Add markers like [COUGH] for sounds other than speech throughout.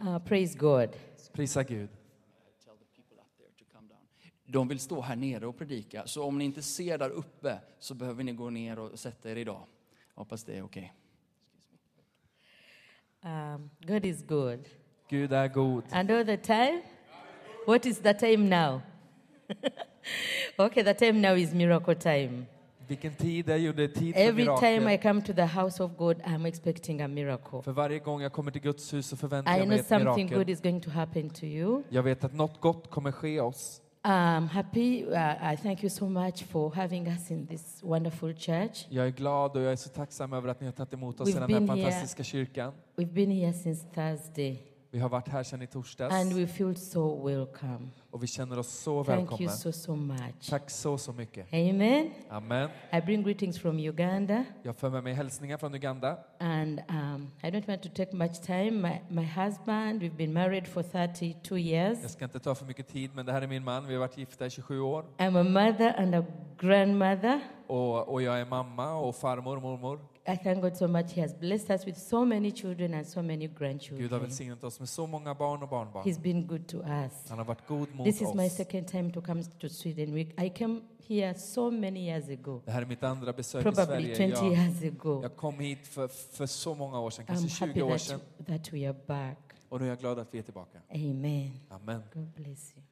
Uh, praise God. Prisa Gud. Tell the people up there to come down. De vill stå här nere och predika, så om ni inte ser där uppe så behöver ni gå ner och sätta er idag. Hoppas det är okej. Um, God is good. Gud är god. And all the time? What is the time now? [LAUGHS] okay, the time now is miracle time. Vilken tid är ju det tid för Every time I mirakler. come to the house of God, I'm expecting a miracle. För varje gång jag kommer till Guds hus så förväntar I jag know mig ett something good mirakel. is going to happen to you. Jag vet att något gott kommer ske oss. I'm happy. Uh, I thank you so much for having us in this wonderful church. Jag är glad och jag är så tacksam över att ni har tagit emot oss We've i den här been here. fantastiska kyrkan. We've been here since Thursday, Vi har varit här sedan i torsdags and we feel so welcome. och vi känner oss så Thank you välkomna. so, so much. Tack så, så mycket. Amen. Amen. I bring greetings from Uganda, Jag för med mig hälsningar från Uganda. and um, I don't want to take much time. My, my husband, we've been married for 32 years. Jag ska inte ta för mycket tid, men det här är min man. Vi har varit gifta i 27 år. I'm a mother and a grandmother. Och, och jag är mamma och farmor och mormor. I thank God so much. He has blessed us with so many children and so many Gud har grandchildren. välsignat oss med så många barn och barnbarn. He's been good to us. Han har varit god mot This is my oss. second time to come to Sweden. We, I came here so many years ago, Det här är mitt andra besök i probably Sverige. 20 Jag, years ago. jag kom hit för, för så många år sedan, I'm kanske happy 20 år that, sedan. that we are back. Och nu är jag glad att vi är tillbaka. Amen. Amen. God bless you.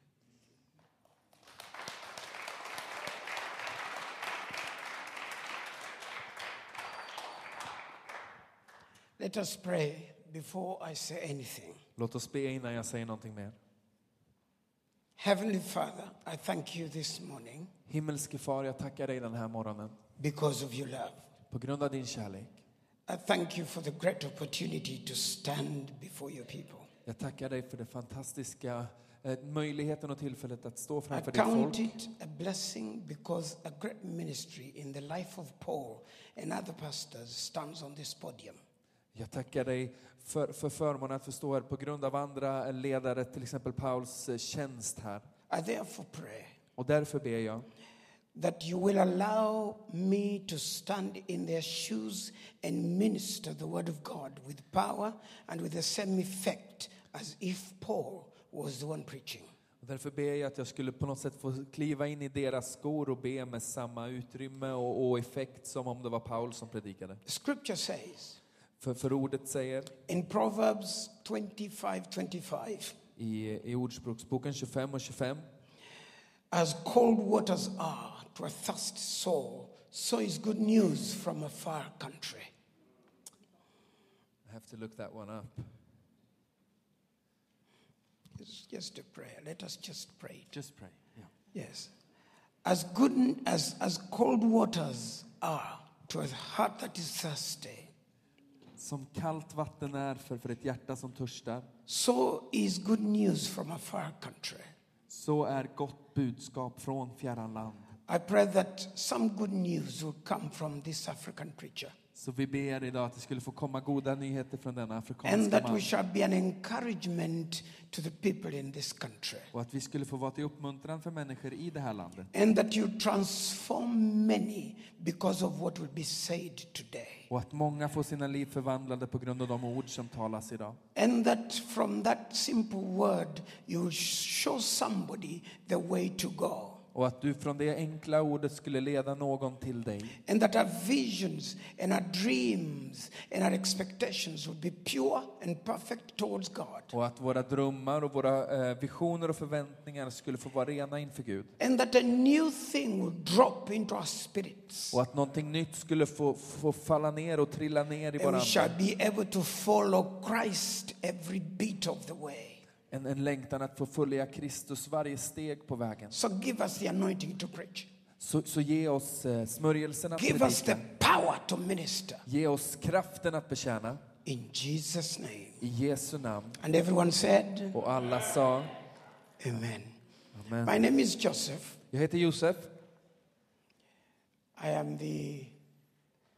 Let us pray before I say anything. Låt oss be innan jag säger någonting mer. Heavenly Father, I thank you this morning Himmelske Far, jag tackar dig den här morgonen because of your love. på grund av din kärlek. I thank you for the great opportunity to stand before your people. Jag tackar dig för den fantastiska eh, möjligheten och tillfället att stå I framför ditt count folk. it a blessing because a great ministry in the life of Paul and other pastors stands on this podium. Jag tackar dig för, för förmånen att få stå här på grund av andra ledare, till exempel Pauls eh, tjänst här. I therefore pray Och därför ber jag that you will allow me to stand in their shoes and minister the word of God with power and with the same effect as if Paul was the one preaching. Och Därför ber jag att jag skulle på något sätt få kliva in i deras skor och be med samma utrymme och, och effekt som om det var Paul som predikade. Scripture says För, för ordet säger in Proverbs 25 25, i, i Ordspråksboken 25 och 25 as cold waters are to a thirsty soul, so is good news from a far country. I have to look that one up. It's just a prayer. Let us just pray. Just pray. Yeah. Yes. As good as, as cold waters are to a heart that is thirsty, Som kallt vatten är för, för ett hjärta som törstar, so is good news from a far country. så är gott budskap från fjärran land. I pray that some good news will come from this African preacher Så vi ber idag att det skulle få komma goda nyheter från denna and afrikanska that we man shall be an encouragement to the people in this country och att vi skulle få vara till uppmuntran för människor i det här landet. and that you transform many because of what will be said today. och att många får sina liv förvandlade på grund av de ord som talas idag. And that from that simple word, you will show somebody the way to go. Och att du från det enkla ordet skulle leda någon till dig. and that our visions and our dreams and our expectations would be pure and perfect towards God. Och att våra drömmar och våra eh, visioner och förväntningar skulle få vara rena inför Gud. And that a new thing will drop into our spirits. Och att någonting nytt skulle få, få falla ner och trilla ner i And vår we shall ande. be able to follow Christ every beat of the way. En, en längtan att få följa Kristus varje steg på vägen. So give us the anointing to preach. Så, så ge oss eh, smörjelsen att Give us the predika. power to minister. Ge oss kraften att betjäna. In Jesus' name. I Jesu namn. And everyone said, Och alla sa, Amen. Amen. My name is Joseph. jag heter Josef. I am the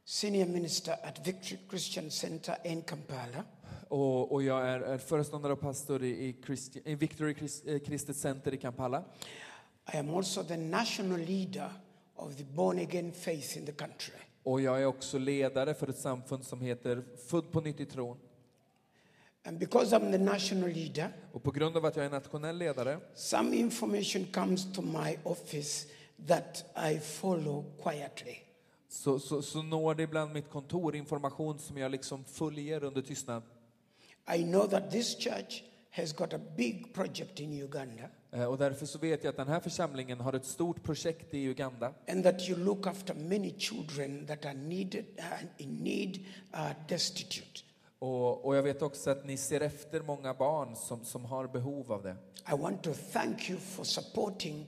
senior minister at Victory Christian Center in Kampala. Och, och jag är, är föreståndare och pastor i, i, Christi, i Victory Christ, eh, Kristet Center i Kampala. I am also the national leader of the born again faith in the country. Och jag är också ledare för ett samfund som heter Född på nytt i tron. And because I'm the national leader, Och på grund av att jag är nationell ledare some information comes to my office that I follow quietly. så, så, så når det ibland mitt kontor information som jag liksom följer under tystnad. I know that this church has got a big project in Uganda Eh, Och därför så vet jag att den här församlingen har ett stort projekt i Uganda and that you look after many children that are needed uh, in need, uh, destitute. Och, och jag vet också att ni ser efter många barn som, som har behov av det. I want to thank you for supporting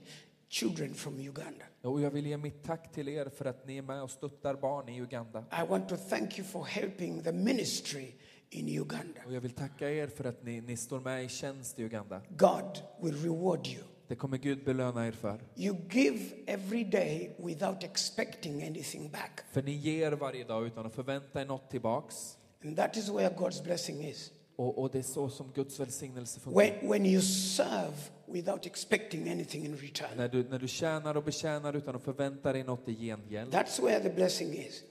children from Uganda. Och jag vill ge mitt tack till er för att ni är med och stöttar barn i Uganda. I want to thank you for helping the ministry in Uganda. Och jag vill tacka er för att ni, ni står med i tjänst i Uganda. God will reward you. Det kommer Gud belöna er för. You give every day without expecting anything back. För ni ger varje dag utan att förvänta er något tillbaks. And that is where God's blessing is. Och, och det är så som Guds välsignelse When, funkar. when you serve without expecting anything in return, När du, när du tjänar och betjänar utan att förvänta dig något i gengäld. that's where the blessing is.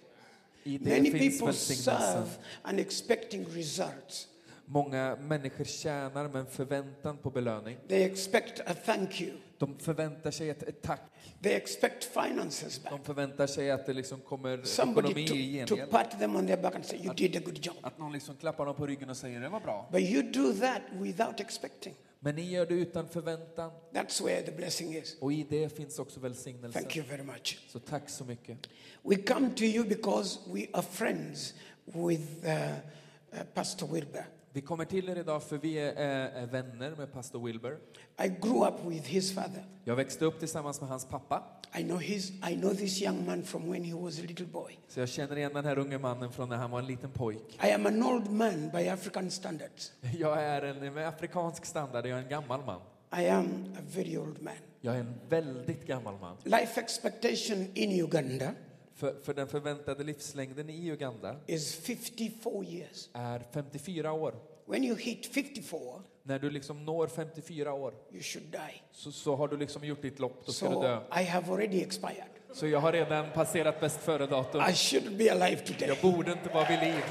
I det Many finns people välsignelsen. serve and expecting results. Många människor tjänar med en förväntan på belöning. They expect a thank you. De förväntar sig ett, ett tack. They expect finances back. De förväntar sig att det liksom kommer ekonomi Somebody i to, to gengäld. pat them on their back and say, You did a good job. Att någon liksom klappar dem på ryggen och säger det var bra. But you do that without expecting. Men ni gör det utan förväntan That's where the blessing is. och i det finns också välsignelsen. Thank you very much. Så tack så mycket. We come to you because we are friends with uh, uh, Pastor Wilbur. Vi kommer till er idag för vi är, eh, är vänner med pastor Wilbur. I grew up with his father. Jag växte upp tillsammans med hans pappa I know, his, I know this young man from when he was a little boy. så jag känner igen den här unge mannen från när han var en liten pojk. [LAUGHS] I am an old man by African standards. Jag är en med afrikansk standard, jag är en gammal man. I am a very old man. Jag är en väldigt gammal man. Life expectation in Uganda För, för den förväntade livslängden i Uganda is 54 years. är 54 år. When you hit 54, När du liksom når 54 år you should die. så, så har du liksom gjort ditt lopp, då ska du dö. So I have already expired. Så jag har redan passerat bäst före-datum. I should be alive Jag today. borde inte vara vid liv.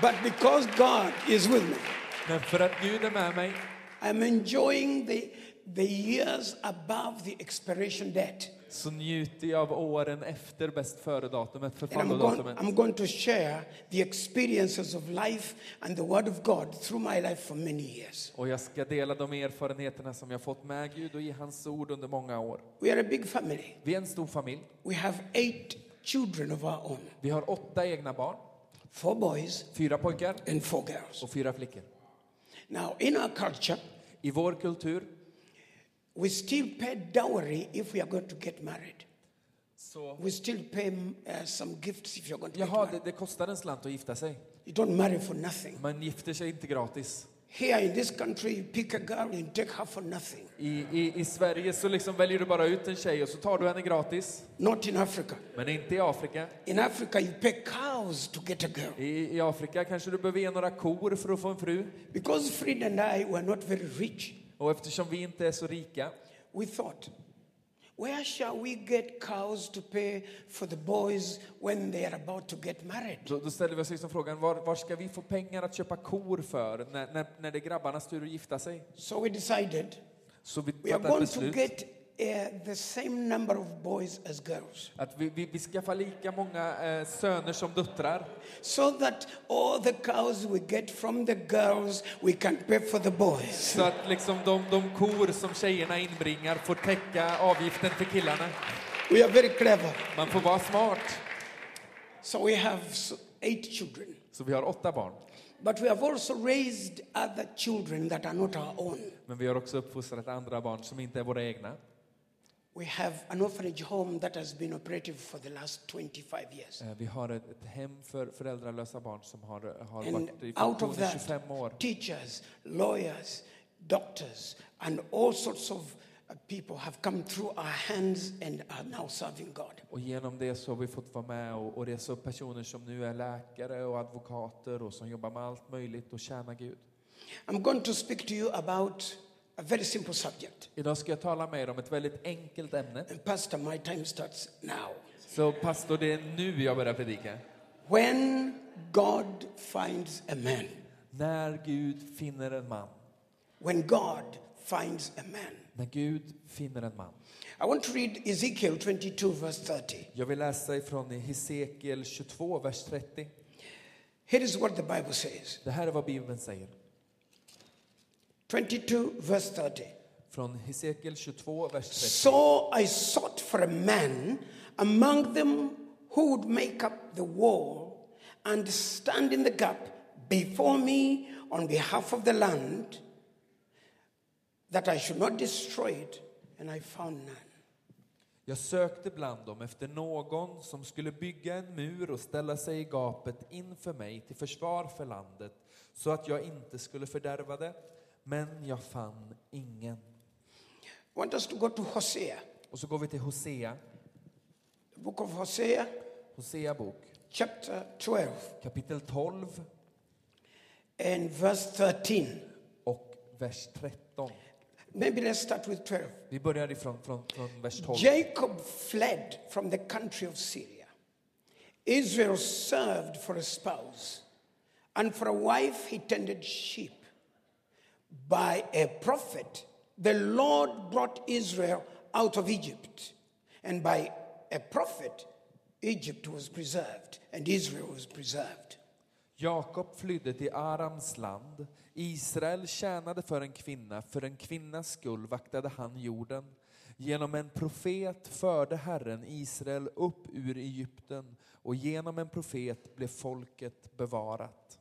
But because God is with me, Men för att Gud är med mig I'm enjoying the, the years above the expiration date. så njuter jag av åren efter bäst före-datumet, And I'm going, förfallodatumet. I'm going to share the experiences of life and the Word of God through my life for many years. Och jag ska dela de erfarenheterna som jag fått med Gud och i hans ord under många år. We are a big family. Vi är en stor familj. We have eight children of our own Vi har åtta egna barn, four boys fyra pojkar and four girls. och fyra flickor. Now, in our culture, I vår kultur we still pay dowry if we are going to get married. så... We still pay mm, uh, some gifts if you're going to get Jaha, married. det, det kostar en slant att gifta sig. You don't marry for nothing. Man gifter sig inte gratis. Here in this country, you pick a girl and take her for nothing. I, i, I Sverige så liksom väljer du bara ut en tjej och så tar du henne gratis. Not in Africa. Men inte i Afrika. In Africa, you pay cows to get a girl. I, I Afrika kanske du behöver ge några kor för att få en fru. Because Fred and I were not very rich, Och eftersom vi inte är så rika we thought, where shall we get cows to pay for the boys when they are about to get married? då, då ställer vi oss liksom frågan var, var ska vi få pengar att köpa kor för när, när, när det är grabbarnas tur att gifta sig? So we decided Så vi we are fattade ett going to beslut get uh, the same number of boys as girls att vi, vi, vi skaffar lika många eh, söner som döttrar. so that all the cows we get from the girls we can pay for the boys. Så att liksom de, de kor som tjejerna inbringar får täcka avgiften för killarna. We are very clever. Man får vara smart. So we have s- eight children. Så vi har åtta barn. But we have also raised other children that are not our own. Men vi har också uppfostrat andra barn som inte är våra egna. We have an orphanage home that has been operative for the last 25 years. Eh, Vi har ett, ett hem för föräldralösa barn som har, har And varit i out funktion of i that, 25 år. teachers, lawyers, doctors, and all sorts of uh, people have come through our hands and are now serving God. Och genom det så har vi fått vara med och, och resa upp personer som nu är läkare och advokater och som jobbar med allt möjligt och tjänar Gud. I'm going to speak to you about a very simple subject. Idag ska jag tala med er om ett väldigt enkelt ämne. And, Pastor, my time starts now. Så pastor, det är nu jag börjar predika. When God finds a man. När Gud finner en man. When God finds a man. När Gud finner en man. I want to read Ezekiel 22, verse 30. Jag vill läsa ifrån Hesekiel 22, vers 30. Here is what the Bible says Det här är vad Bibeln säger. 22, verse 30. Från Hesekiel 22, vers 30. So I sought for a man among them who would make up the wall and stand in the gap before me on behalf of the land, that I should not destroy it, and I found none. Jag sökte bland dem efter någon som skulle bygga en mur och ställa sig i gapet inför mig till försvar för landet så att jag inte skulle fördärva det, men jag fann ingen. I want us to go to Hosea, Och så går vi till Hosea, the book of Hosea, Hosea bok, chapter 12, kapitel 12 and verse 13. och vers 13. Maybe let's start with 12. Vi börjar ifrån från, från vers 12. Jacob fled from the country of Syria. Israel served for a spouse, and for a wife he tended sheep. By a prophet, the Lord brought Israel out of Egypt, and by a prophet, Egypt was preserved, and Israel was preserved. Jakob flydde till Arams land. Israel tjänade för en kvinna, för en kvinnas skull vaktade han jorden. Genom en profet förde Herren Israel upp ur Egypten och genom en profet blev folket bevarat.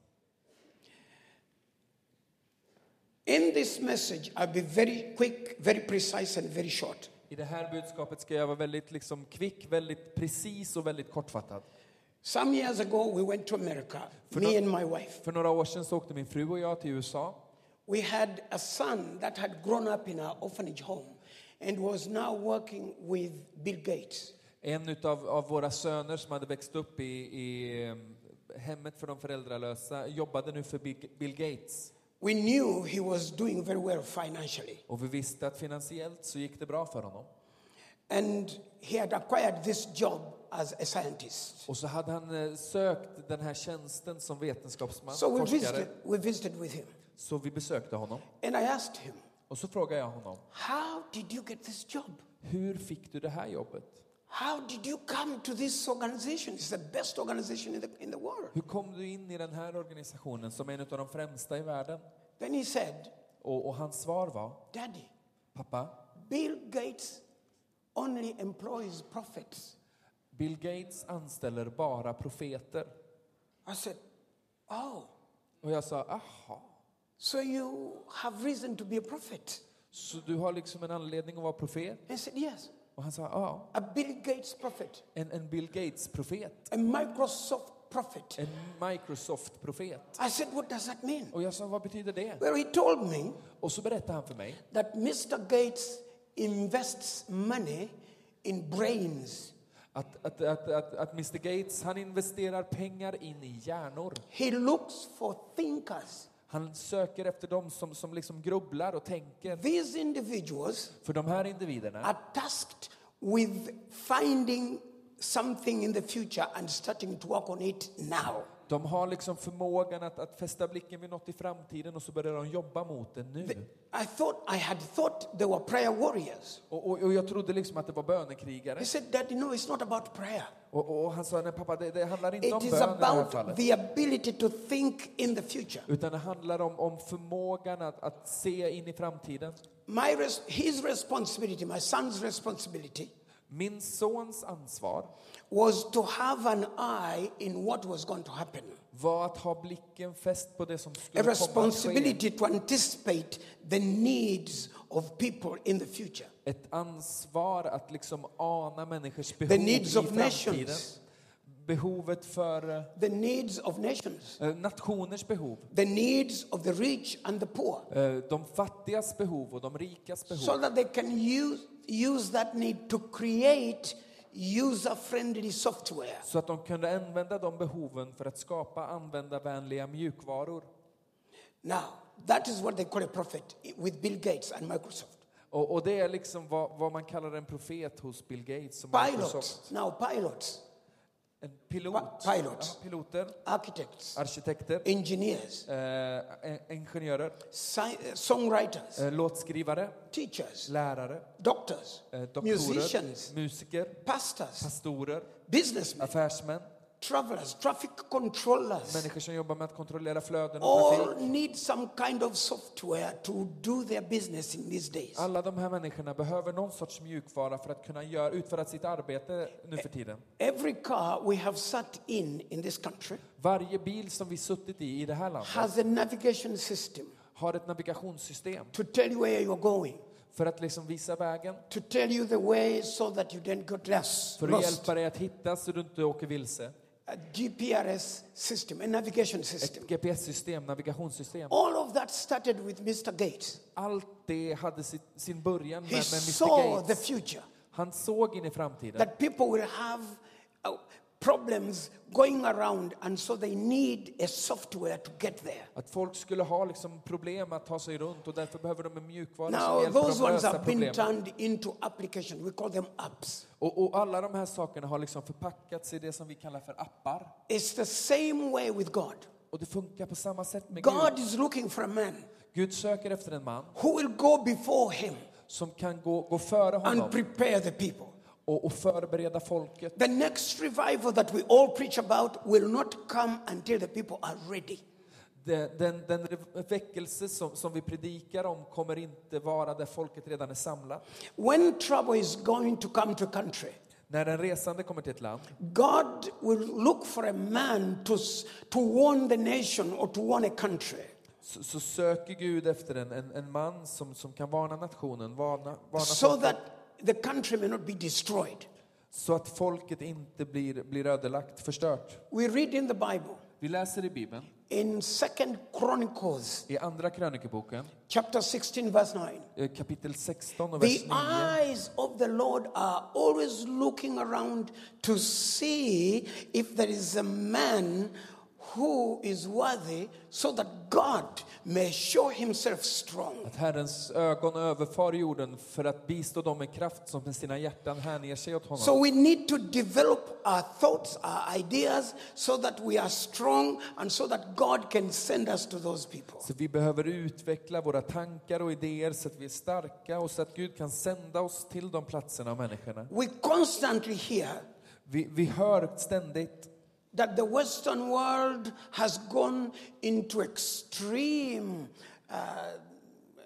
In this message, I'll be very quick, very precise, and very short. I det här budskapet ska jag vara väldigt liksom kvick, väldigt precis och väldigt kortfattad. Some years ago, we went to America, me and my wife. För några år sedan så åkte min fru och jag till USA. We had a son that had grown up in our orphanage home and was now working with Bill Gates. En utav, av våra söner som hade växt upp i, i eh, hemmet för de föräldralösa jobbade nu för Bill- Bill Gates. We knew he was doing very well financially, Och vi visste att finansiellt så gick det bra för honom. and he had acquired this job as a scientist. Och så hade han eh, sökt den här tjänsten som vetenskapsman, So we forskare. visited, we visited with him, Så vi besökte honom. and I asked him, Och så frågade jag honom, How did you get this job? hur fick du det här jobbet? How did you come to this organization? It's the best organization in the, in the world. Hur kom du in i den här organisationen som är en av de främsta i världen? Then he said, Och, och hans svar var, Daddy, pappa, Bill Gates only employs prophets. Bill Gates anställer bara profeter. I said, Oh, Och jag sa, aha, so you have reason to be a prophet? så du har liksom en anledning att vara profet? I said, Yes, Och han sa, ja, a Bill Gates prophet, en, en Bill Gates-profet, a Microsoft prophet. en Microsoft-profet. I said, What does that mean? Och jag sa, vad betyder det? Well, he told me Och så berättade han för mig that Mr. Gates invests money in brains. att, att, att, att, att Mr Gates, han investerar pengar in i hjärnor. He looks for thinkers. Han söker efter dem som, som liksom grubblar och tänker. These individuals För de här individerna, are tasked with finding something in the future and starting to work on it now. de har liksom förmågan att, att fästa blicken vid något i framtiden och så börjar de jobba mot det nu. I thought I had thought they were prayer warriors. Och, och, och jag trodde liksom att det var bönekrigare. He said, Daddy, no, it's not about prayer. Och, och, och han sa, nej pappa, det, det handlar inte It om is bön i det här about fallet. the ability to think in the future. Utan det handlar om, om förmågan att, att se in i framtiden. My res- his responsibility, my son's responsibility, Min sons ansvar was to have an eye in what was going to happen. var att ha blicken fäst på det som A skulle komma att ske. responsibility to anticipate the needs of people in the future. Ett ansvar att liksom ana människors behov The needs i of framtiden. nations. Behovet för eh, The needs of nations, nationers behov. the needs of the rich and the poor, Eh, De fattigas behov och de rikas behov. so that they can use, use that need to create user friendly software. Så att de kunde använda de behoven för att skapa användarvänliga mjukvaror. Now, that is what they call a prophet with Bill Gates and Microsoft. Och, och det är liksom vad, vad man kallar en profet hos Bill Gates. Som Pilots, now pilots, En pilot. Pa- pilot. Ja, piloter, architects, arkitekter, engineers, eh, en- ingenjörer, si- uh, songwriters, eh, låtskrivare, teachers, lärare, doctors, eh, musicians, doktorer, musiker, pastors, pastorer, businessmen, affärsmän, travelers, traffic controllers. människor som jobbar med att kontrollera flöden och All trafik. need some kind of software to do their business in these days. Alla de här människorna behöver någon sorts mjukvara för att kunna göra, utföra sitt arbete nu för tiden. Every car we have sat in in this country Varje bil som vi suttit i i det här landet has a navigation system har ett navigationssystem to tell you where you're going, för att liksom visa vägen, to tell you the way so that you don't get lost. för att lost. hjälpa dig att hitta så du inte åker vilse. A GPRS system, a navigation system. Ett GPS-system, navigationssystem. All of that started with Mr. Gates. Allt det hade sitt, sin början med, He med saw Mr the Gates. future Han såg in i framtiden that people will have uh, problems going around, and so they need a software to get there. att folk skulle ha liksom problem att ta sig runt och därför behöver de en mjukvara som Now, hjälper those dem att ones lösa have been problemen. turned into application. We call them apps. Och, och alla de här sakerna har liksom förpackats i det som vi kallar för appar. It's the same way with God. Och det funkar på samma sätt med God Gud. is looking for a man Gud söker efter en man who will go before him som kan gå, gå före honom and prepare the people. och, och förbereda folket. The next revival that we all preach about will not come until the people are ready. Den, den, den rev- väckelse som, som vi predikar om kommer inte vara där folket redan är samlat. When trouble is going to come to a country, När en resande kommer till ett land God will look for a man to, s- to warn the nation or to warn a country. så, så söker Gud efter en, en, en man som, som kan varna nationen, varna, varna so folket, that the country may not be destroyed. så att folket inte blir, blir ödelagt, förstört. We read in the Bible, Vi läser i Bibeln, in Second Chronicles, i Andra krönikeboken, chapter 16, verse 9. eh, kapitel 16 och vers The 9. eyes of the Lord are always looking around to see if there is a man who is worthy so that God may show himself strong. Att Herrens ögon överfar jorden för att bistå dem med kraft som med sina hjärtan hänger sig åt honom. So we need to develop our thoughts, our ideas, so that we are strong and so that God can send us to those people. Så vi behöver utveckla våra tankar och idéer så att vi är starka och så att Gud kan sända oss till de platserna och människorna. We constantly hear Vi, vi hör ständigt that the Western world has gone into extreme, uh,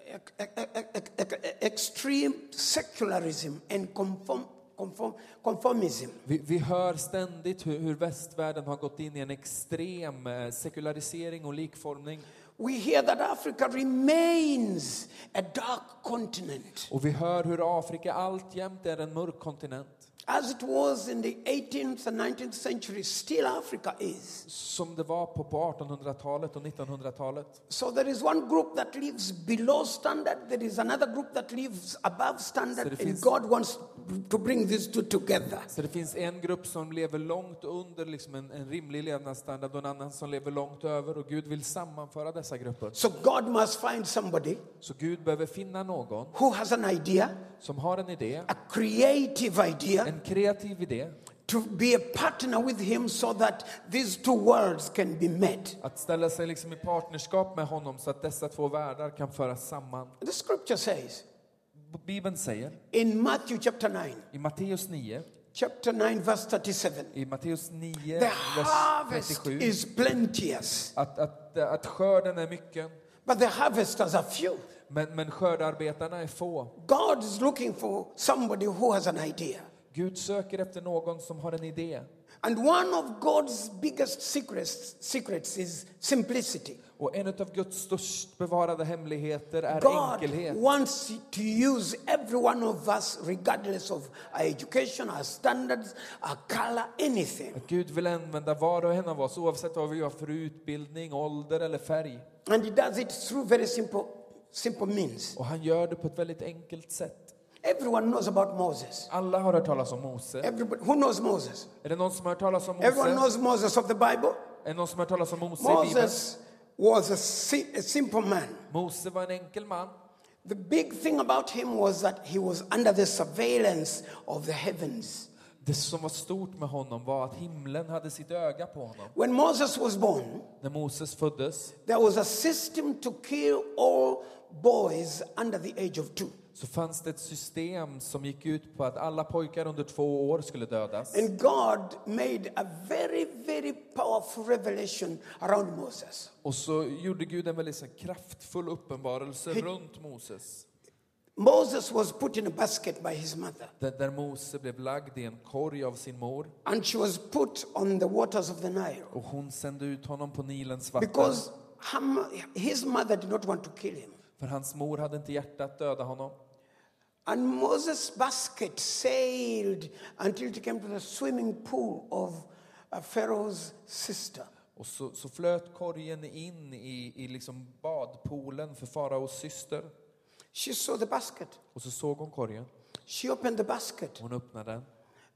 ec- ec- ec- ec- extreme secularism and conform, conform, conformism. vi, vi hör ständigt hur, hur västvärlden har gått in i en extrem eh, sekularisering och likformning. We hear that Africa remains a dark continent, Och vi hör hur Afrika alltjämt är en mörk kontinent. as it was in the 18th and 19th century. Still, Africa is. Som det var på, på 1800-talet och 1900-talet. So there is one group that lives below standard, there is another group that lives above So standard, it and is- God wants to bring these two together. Så det finns en grupp som lever långt under liksom en, en rimlig levnadsstandard och en annan som lever långt över och Gud vill sammanföra dessa grupper. So God must find somebody Så Gud behöver finna någon who has an idea, som har en idé, a creative idea, en kreativ idé, to be a partner with him so that these two worlds can be met. att ställa sig liksom i partnerskap med honom så att dessa två världar kan föras samman. The scripture says Bibeln säger in Matthew chapter 9, i Matteus 9, chapter 9, verse 37, i Matteus 9, the vers harvest 37, is plenteous, att, att, att skörden är mycket, but the harvesters are few. men, men skördarbetarna är få. God is looking for somebody who has an idea. Gud söker efter någon som har en idé. And one of God's biggest secrets, secrets is simplicity. Och en av Guds störst bevarade hemligheter är God enkelhet. wants to use every one of us, regardless of our education, our standards, our color, anything. Att Gud vill använda var och en av oss oavsett vad vi har för utbildning, ålder eller färg. And He does it through very simple, simple means. Och han gör det på ett väldigt enkelt sätt. Everyone knows about Moses. Alla har hört talas om Mose. Everybody, who knows Moses? Är det någon som har hört talas om Everyone Mose? knows Moses of the Bible. Är det någon som har hört talas om Mose i Bibeln? Moses was a, si- a simple man. Mose var en enkel man. The big thing about him was that he was under the surveillance of the heavens. Det som var stort med honom var att himlen hade sitt öga på honom. When Moses was born, När Moses föddes there was a system to kill all boys under the age of two. så fanns det ett system som gick ut på att alla pojkar under två år skulle dödas. And God made a very, very powerful revelation around Moses. Och så gjorde Gud en väldigt så här kraftfull uppenbarelse runt Moses. Moses was put in a basket by his mother, Där, där Mose blev lagd i en korg av sin mor and she was put on the waters of the Nile och hon sände ut honom på Nilens vatten. because her mo- his mother did not want to kill him. För hans mor hade inte hjärta att döda honom. And Moses' basket sailed until it came to the swimming pool of uh, Pharaoh's sister. Och så, så flöt korgen in i, i liksom badpoolen för faraos syster. She saw the basket. Och så såg hon korgen. She opened the basket. Hon öppnade den.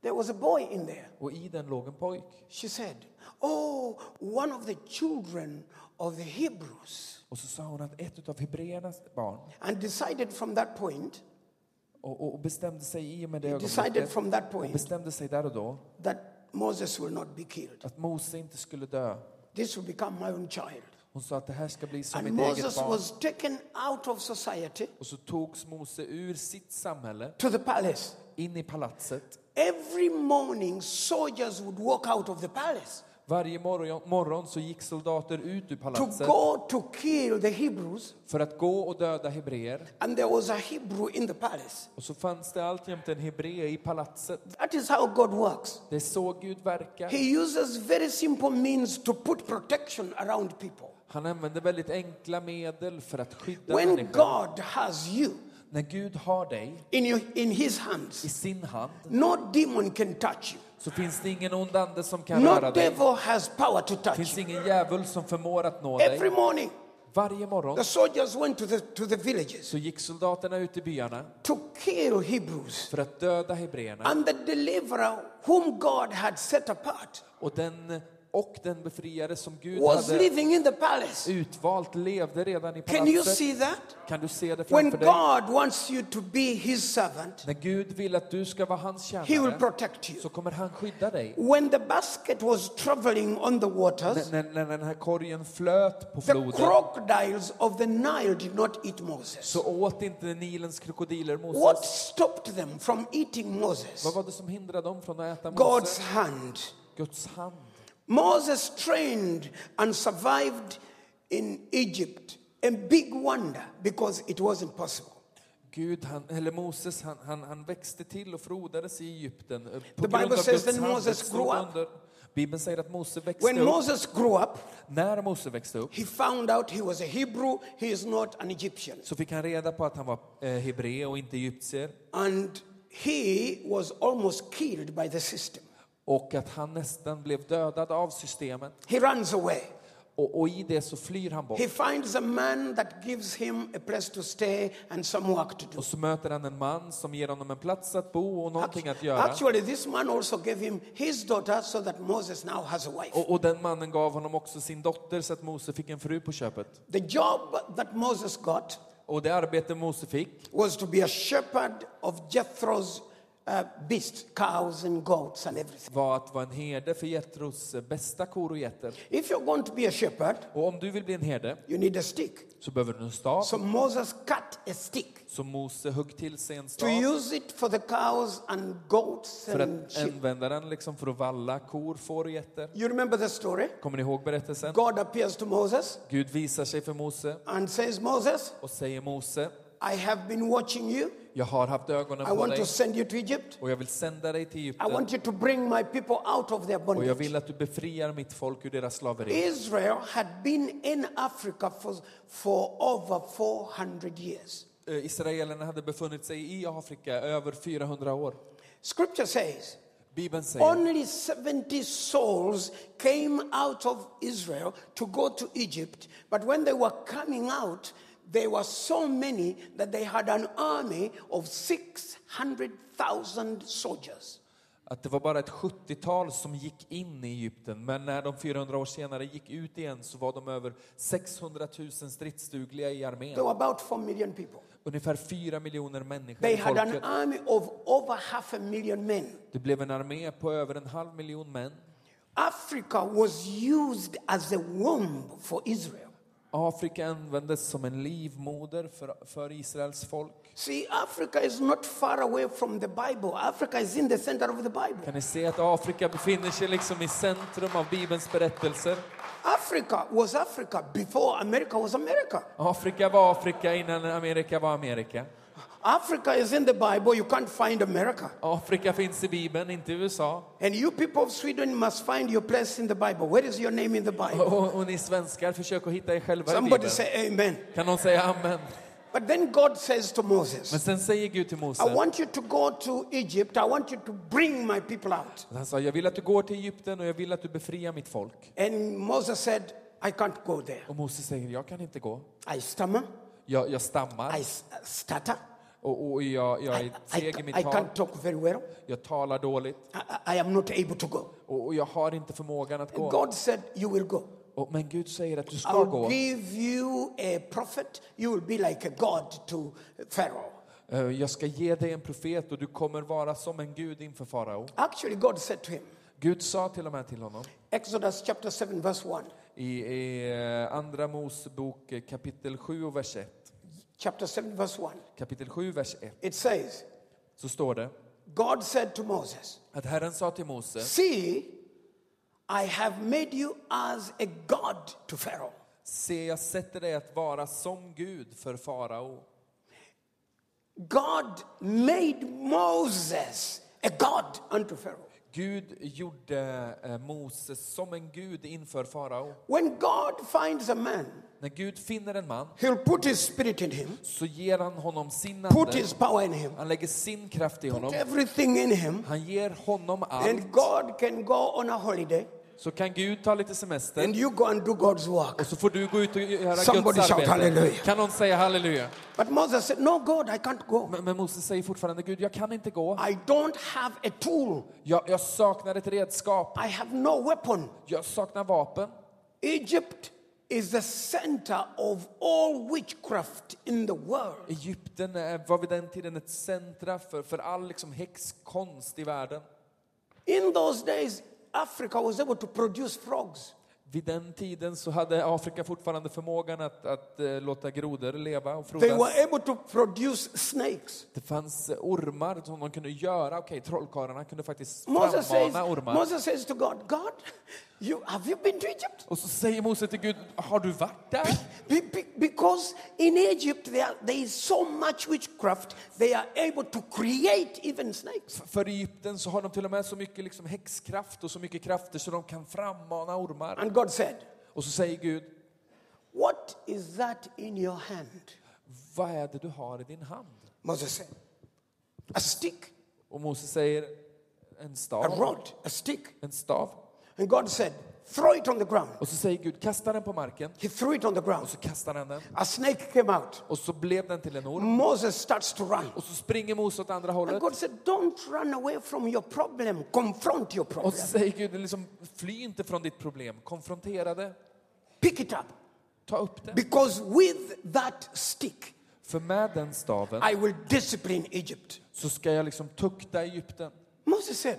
There was a boy in there. Och i den låg en pojk. She said, Oh, one of the children of the Hebrews. Och så sa hon att ett av hebreernas barn, And decided from that point, och, och- och bestämde sig i och med det decided ögonblicket, from that och point bestämde sig där och då that Moses will not be killed. att Mose inte skulle dö. This will become my own child. Hon sa att det här ska bli som And mitt eget Moses barn. was taken out of society Och så togs Mose ur sitt samhälle to the palace. in i palatset. Every morning, soldiers would walk out of the palace Varje morgon, morgon så gick soldater ut ur to palatset go to kill the Hebrews. för att gå och döda hebreer. And there was a Hebrew in the palace. Och så fanns det alltjämt en hebré i palatset. That is how God works. Det är så Gud verkar. He uses very simple means to put protection around people. Han använder väldigt enkla medel för att skydda When människor. God has you När Gud har dig in, your, in His i hands, sin hand no demon can touch you. så finns det ingen ond ande som kan No röra dig. devil has power to Det touch finns you. ingen djävul som förmår att nå Every dig. morning, Varje morgon the soldiers went to the, to the villages så gick soldaterna ut i byarna to kill Hebrews. för att döda hebreerna. And the deliverer, whom God had set apart, Och den, och den befriare som Gud was hade living in the palace. utvalt levde redan i Can you palatset. see that? Kan du se det When framför dig? God wants you to be His servant, När Gud vill att du ska vara hans He will tjänare protect you. så kommer han skydda dig. When the basket was traveling on the waters, När, när, när den här korgen flöt på the floden crocodiles of the Nile did not eat Moses. så åt inte Nilens krokodiler What Moses. stopped them from eating Moses? Vad var det som hindrade dem från att äta God's Moses? hand. Guds hand. Moses trained and survived in Egypt. A big wonder because it wasn't possible. Gud, han, eller Moses, han, han, han växte till och frodades i Egypten. eh, På The Bible grund av says Guds then hand, Moses ett grew stort up. under. Bibeln säger att Mose växte When upp. Moses grew up, När Mose växte upp he found out he was a Hebrew, he is not an Egyptian. så fick han reda på att han var eh, hebré och inte egyptier And he was almost killed by the system. och att han nästan blev dödad av systemet. He runs away. Och, och i det så flyr han bort. He finds a man that gives him a place to stay and some work to do. Och så möter han en man som ger honom en plats att bo och någonting att göra. Actually, this man also gave him his daughter so that Moses now has a wife. Och, och den mannen gav honom också sin dotter så att Mose fick en fru på köpet. The job that Moses got Och det arbete Mose fick was to be a shepherd of Jethro's uh, beasts, cows and goats and everything. var att vara en herde för Getros bästa kor och getter. If you're going to be a shepherd, Och om du vill bli en herde you need a stick. så behöver du en stav. So Moses cut a stick Så Mose högg till sig en to stav use it for the cows and goats för and att sheep. använda den liksom för att valla kor, får och getter. You remember the story? Kommer ni ihåg berättelsen? God appears to Moses Gud visar sig för Mose and says, Moses, och säger Mose, I have been watching you. jag har haft ögonen I på want dig to send you to Egypt. och jag vill sända dig till I Egypten want you to bring my people out of their och jag bondage. vill att du befriar mitt folk ur deras slaveri. Israel had been in Africa for, for over 400 years. Eh, Israelerna hade befunnit sig i Afrika över 400 år. Scripture says Bibeln säger only 70 souls came out of Israel to go to Egypt, but when they were coming out, they were so many that they had an army of 600,000 soldiers. att det var bara ett 70-tal som gick in i Egypten, men när de 400 år senare gick ut igen så var de över 600 000 stridsdugliga i There armén. were about 4 million people. Ungefär 4 miljoner människor They i had an folket. army of over half a million men. Det blev en armé på över en halv miljon män. Africa was used as a womb for Israel. Afrika användes som en livmoder för, för Israels folk. See, Africa is not far away from the Bible. Africa is in the center of the Bible. Kan ni se att Afrika befinner sig liksom i centrum av Bibelns berättelser? Africa was Africa before America was America. Afrika var Afrika innan Amerika var Amerika. Africa is in the Bible. You can't find America. Afrika finns i Bibeln, inte i USA. And you people of Sweden must find your place in the Bible. Where is your name in the Bible? Och, och ni svenskar, försök att hitta er själva i Somebody Bibeln. say amen. Kan någon säga amen? But then God says to Men Moses, sen säger Gud till I Mose, want you to go to Egypt. I want you to bring my people out. han sa, jag vill att du går till Egypten och jag vill att du befriar mitt folk. And Moses said, I can't go there. Och Mose säger, jag kan inte gå. I stammer. Jag, jag stammar I s- uh, stutter. och, och jag, jag är I, I, seg i I mitt tal. can't talk very well. Jag talar dåligt I, I- I am not able to go. och, och jag har inte förmågan att gå. God said, You will go. Och, men Gud säger att du I ska will gå. give you a prophet. You will be like a god to Pharaoh. Eh, Jag ska ge dig en profet och du kommer vara som en gud inför farao. Actually, God said to him, Gud sa till och med till honom Exodus chapter 7, verse 1. i, i eh, Andra Mosebok eh, kapitel 7 och vers 1. Chapter 7, verse 1. Kapitel 7, vers 1. It says, Så står det God said to Moses, att Herren sa till Mose, See, I have made you as a god to Pharaoh. se jag sätter dig att vara som Gud för farao. God made Moses a god unto Pharaoh. Gud gjorde eh, Mose som en gud inför farao. When God finds a man, När Gud finner en man he'll put his spirit in him, så ger han honom sin put ande. his power in him, Han lägger sin kraft i put honom. everything in him, Han ger honom allt. and God can go on a holiday, Så kan Gud ta lite semester and you go and do God's work. och så får du gå ut och göra Somebody Guds shout arbete. hallelujah. Kan någon säga halleluja? But Moses said, No, God, I can't go. Men, men Moses säger fortfarande, Gud jag kan inte gå. I don't have a tool, Jag, jag saknar ett redskap. I have no weapon. Jag saknar vapen. Egypt is the center of all witchcraft in the world. Egypten eh, var vid den tiden ett centra för, för all liksom häxkonst i världen. In those days, Africa was able to produce frogs. Vid den tiden så hade Afrika fortfarande förmågan att, att eh, låta grodor leva och They were frodas. able to produce snakes. Det fanns eh, ormar som de kunde göra. Okej, trollkarlarna kunde faktiskt Moses says, frammana ormar. Moses says to God, God, you, have you been to Egypt? Och så säger Mose till Gud, har du varit där? Be- be- because in Egypt there, there is so much witchcraft, they are able to create even snakes. För i Egypten så har de till och med så mycket liksom häxkraft och så mycket krafter så de kan frammana ormar. And God said, Och så säger Gud, What is that in your hand? vad är det du har i din hand? Moses said, A stick, Och Mose säger, en a stav. rod, a stick. En stav. And God said, Throw it on the ground. Och så säger Gud, kasta den på marken. He threw it on the ground. Så kastar han den. A snake came out. Och så blev den till en orm. Moses starts to run. Och så springer Mose åt andra And hållet. God said, Don't run away from your problem, confront your Och problem. så säger Gud, liksom, fly inte från ditt problem. Konfrontera det. Pick it up. Ta upp det. Because with that stick, För med den staven I will discipline Egypt. så ska jag liksom tukta Egypten. Moses said,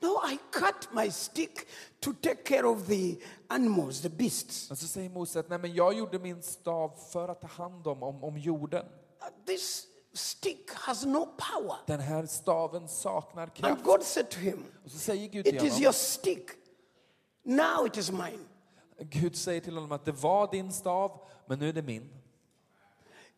No, I cut my stick to take care of the animals, the beasts. Men så säger Mose att Nej, men jag gjorde min stav för att ta hand om, om, om jorden. Uh, This stick has no power. Den här staven saknar And kraft. God said to him, Och så säger Gud till It is honom, your stick. Now it is mine. Gud säger till honom att det var din stav, men nu är det min.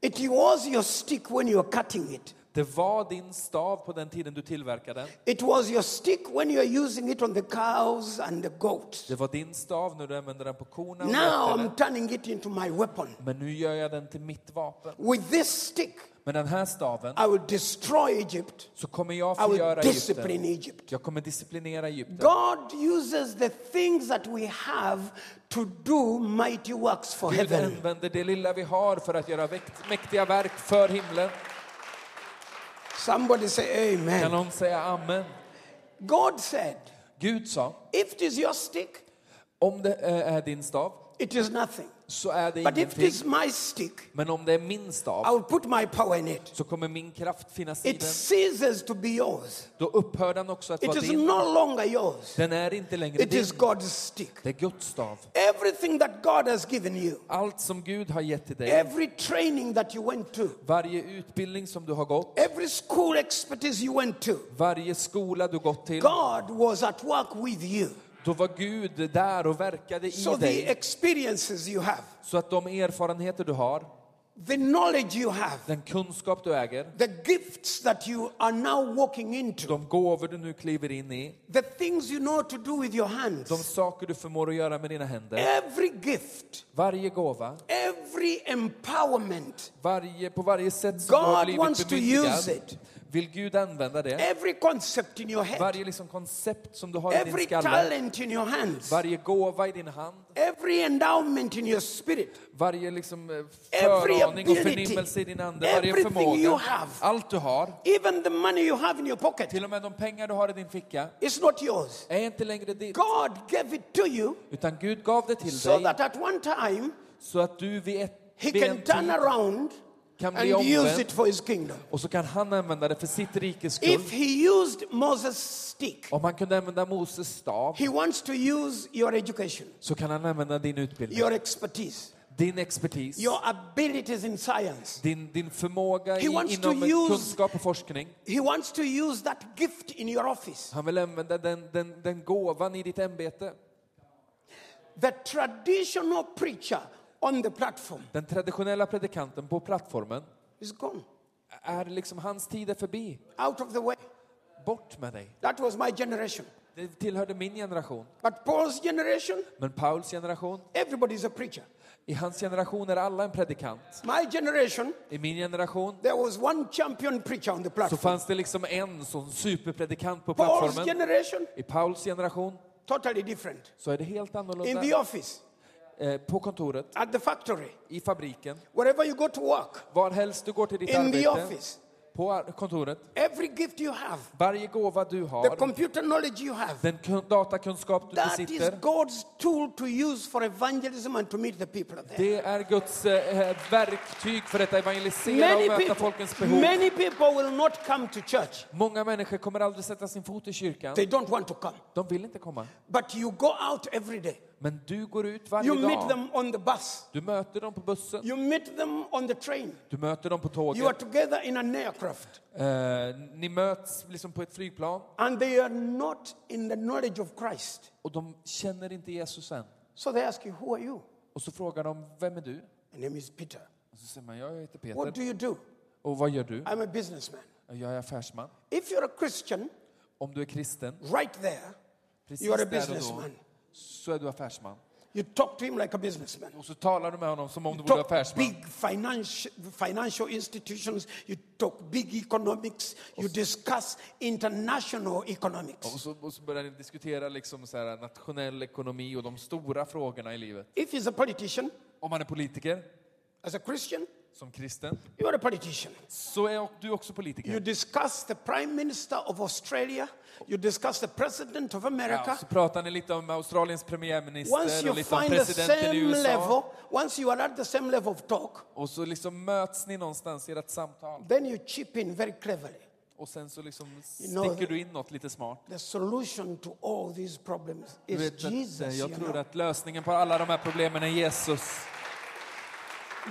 It was your stick when you were cutting it. Det var din stav på den tiden du tillverkade den. It was your stick when you were using it on the cows and the goats. Det var din stav när du använde den på korna och Now I'm getterna. turning it into my weapon. Men nu gör jag den till mitt vapen. With this stick, Med den här staven I will destroy Egypt. så kommer jag I will förgöra discipline Egypten. Egypt. Jag kommer disciplinera Egypten. God uses the things that we have to do mighty works for Gud heaven. använder det lilla vi har för att göra väkt- mäktiga verk för himlen. Somebody say Kan amen. någon säga amen? God said, Gud sa, if it is your stick, om det eh, är din stav it is nothing. så är det But if it ingenting. is my stick, Men om det är min I stav will put my power in it. så kommer min kraft finnas i It den. ceases to be yours. Då upphör den också att It vara is din. no longer yours. Den är inte längre It din. is God's stick. Det är Guds stav. Everything that God has given you, Allt som Gud har gett till dig, every training that you went to, varje utbildning som du har gått, every school expertise you went to, varje skola du gått till, God was at work with you. då var Gud där och verkade i So the dig. experiences you have, Så att de erfarenheter du har, the knowledge you have, den kunskap du äger, the gifts that you are now walking into, de gåvor du nu kliver in i, the things you know to do with your de hands, saker du förmår att göra med dina händer, every gift, varje gåva, every empowerment, varje, på varje sätt som du God har wants blivit to use bemyndigad, it. vill Gud använda det. every concept in your head, Varje liksom koncept som du har i din every skalle, talent in your hands, varje gåva i din hand, every endowment in your spirit, Varje liksom eh, Every föraning och ability. förnimmelse i din ande, varje Everything you förmåga, have. allt du har, even the money you have in your pocket, till och med de pengar du har i din ficka, it's not yours. är inte längre ditt. God gave it to you Utan Gud gav det till so dig that at one time så att du vid, ett, he vid en can turn tid around kan bli and use omvänd it for his kingdom. och så kan han använda det för sitt rikes skull. If he used Moses' stick, Om han kunde använda Moses stav he wants to use your education, så kan han använda din utbildning, your expertise, din expertis, your abilities in science. din, din förmåga He i, wants to inom use- kunskap och forskning. He wants to use that gift in your office. Han vill använda den, den, den gåvan i ditt ämbete. The traditional preacher on the platform Den traditionella predikanten på plattformen is gone, är liksom hans tid är förbi. out of the way. Bort med dig. That was my generation. Det tillhörde min generation. But Paul's generation, Men Pauls generation, everybody's a preacher. i hans generation är alla en predikant. My generation, I min generation there was one champion preacher on the så platform. fanns det liksom en sån superpredikant på Paul's plattformen. generation, I Pauls generation totally different. så är det helt In the annorlunda. office, Eh, på kontoret, at the factory, i fabriken, wherever you go to work, varhelst du går till ditt in the arbete, office, på ar- kontoret, every gift you have, varje gåva du the har, computer knowledge you have, den kun- datakunskap du that is besitter, God's tool to use for evangelism and to meet the people of there. det är Guds eh, verktyg för att evangelisera och Many möta people, folkens behov. many people will not come to church. Många människor kommer aldrig sätta sin fot i kyrkan. They don't want to come. De vill inte komma. But you go out every day. Men du går ut varje You meet dag. them on the bus. Du möter dem på bussen. You meet them on the train. Du möter dem på You are tåget. together in an aircraft. Eh, ni möts liksom på ett flygplan And they are not in the knowledge of Christ. och de känner inte Jesus än. So they ask you, Who are you? Och så frågar de, vem är du? My name is Peter. Och så säger man, jag heter What Peter. do you do? Och vad gör du? I'm a businessman. Jag är affärsman. If you're a Christian, Om du är kristen, right there, precis you are a där och då, businessman. så är du affärsman. You talk to him like a businessman. Och så talar du med honom som om du vore Talk affärsman. big financial, financial institutions, you talk big economics, you discuss international Och economics. så, och så börjar ni diskutera liksom så här, nationell ekonomi och de stora frågorna i livet. If he's a politician, Om man är politiker, as a Christian, som kristen, you are a politician. så är du också politiker. You discuss the Prime Minister of Australia, you discuss the President of Ja, America. så pratar ni lite om Australiens Once premiärminister you och lite om find the presidenten i same USA. level, once you are at the same level of talk, Och så liksom möts ni någonstans i ert samtal. then you chip in very cleverly. Och sen så liksom sticker know, du in något lite smart. The solution to all these problems Du is vet att, eh, Jesus. jag you tror know. att lösningen på alla de här problemen är Jesus.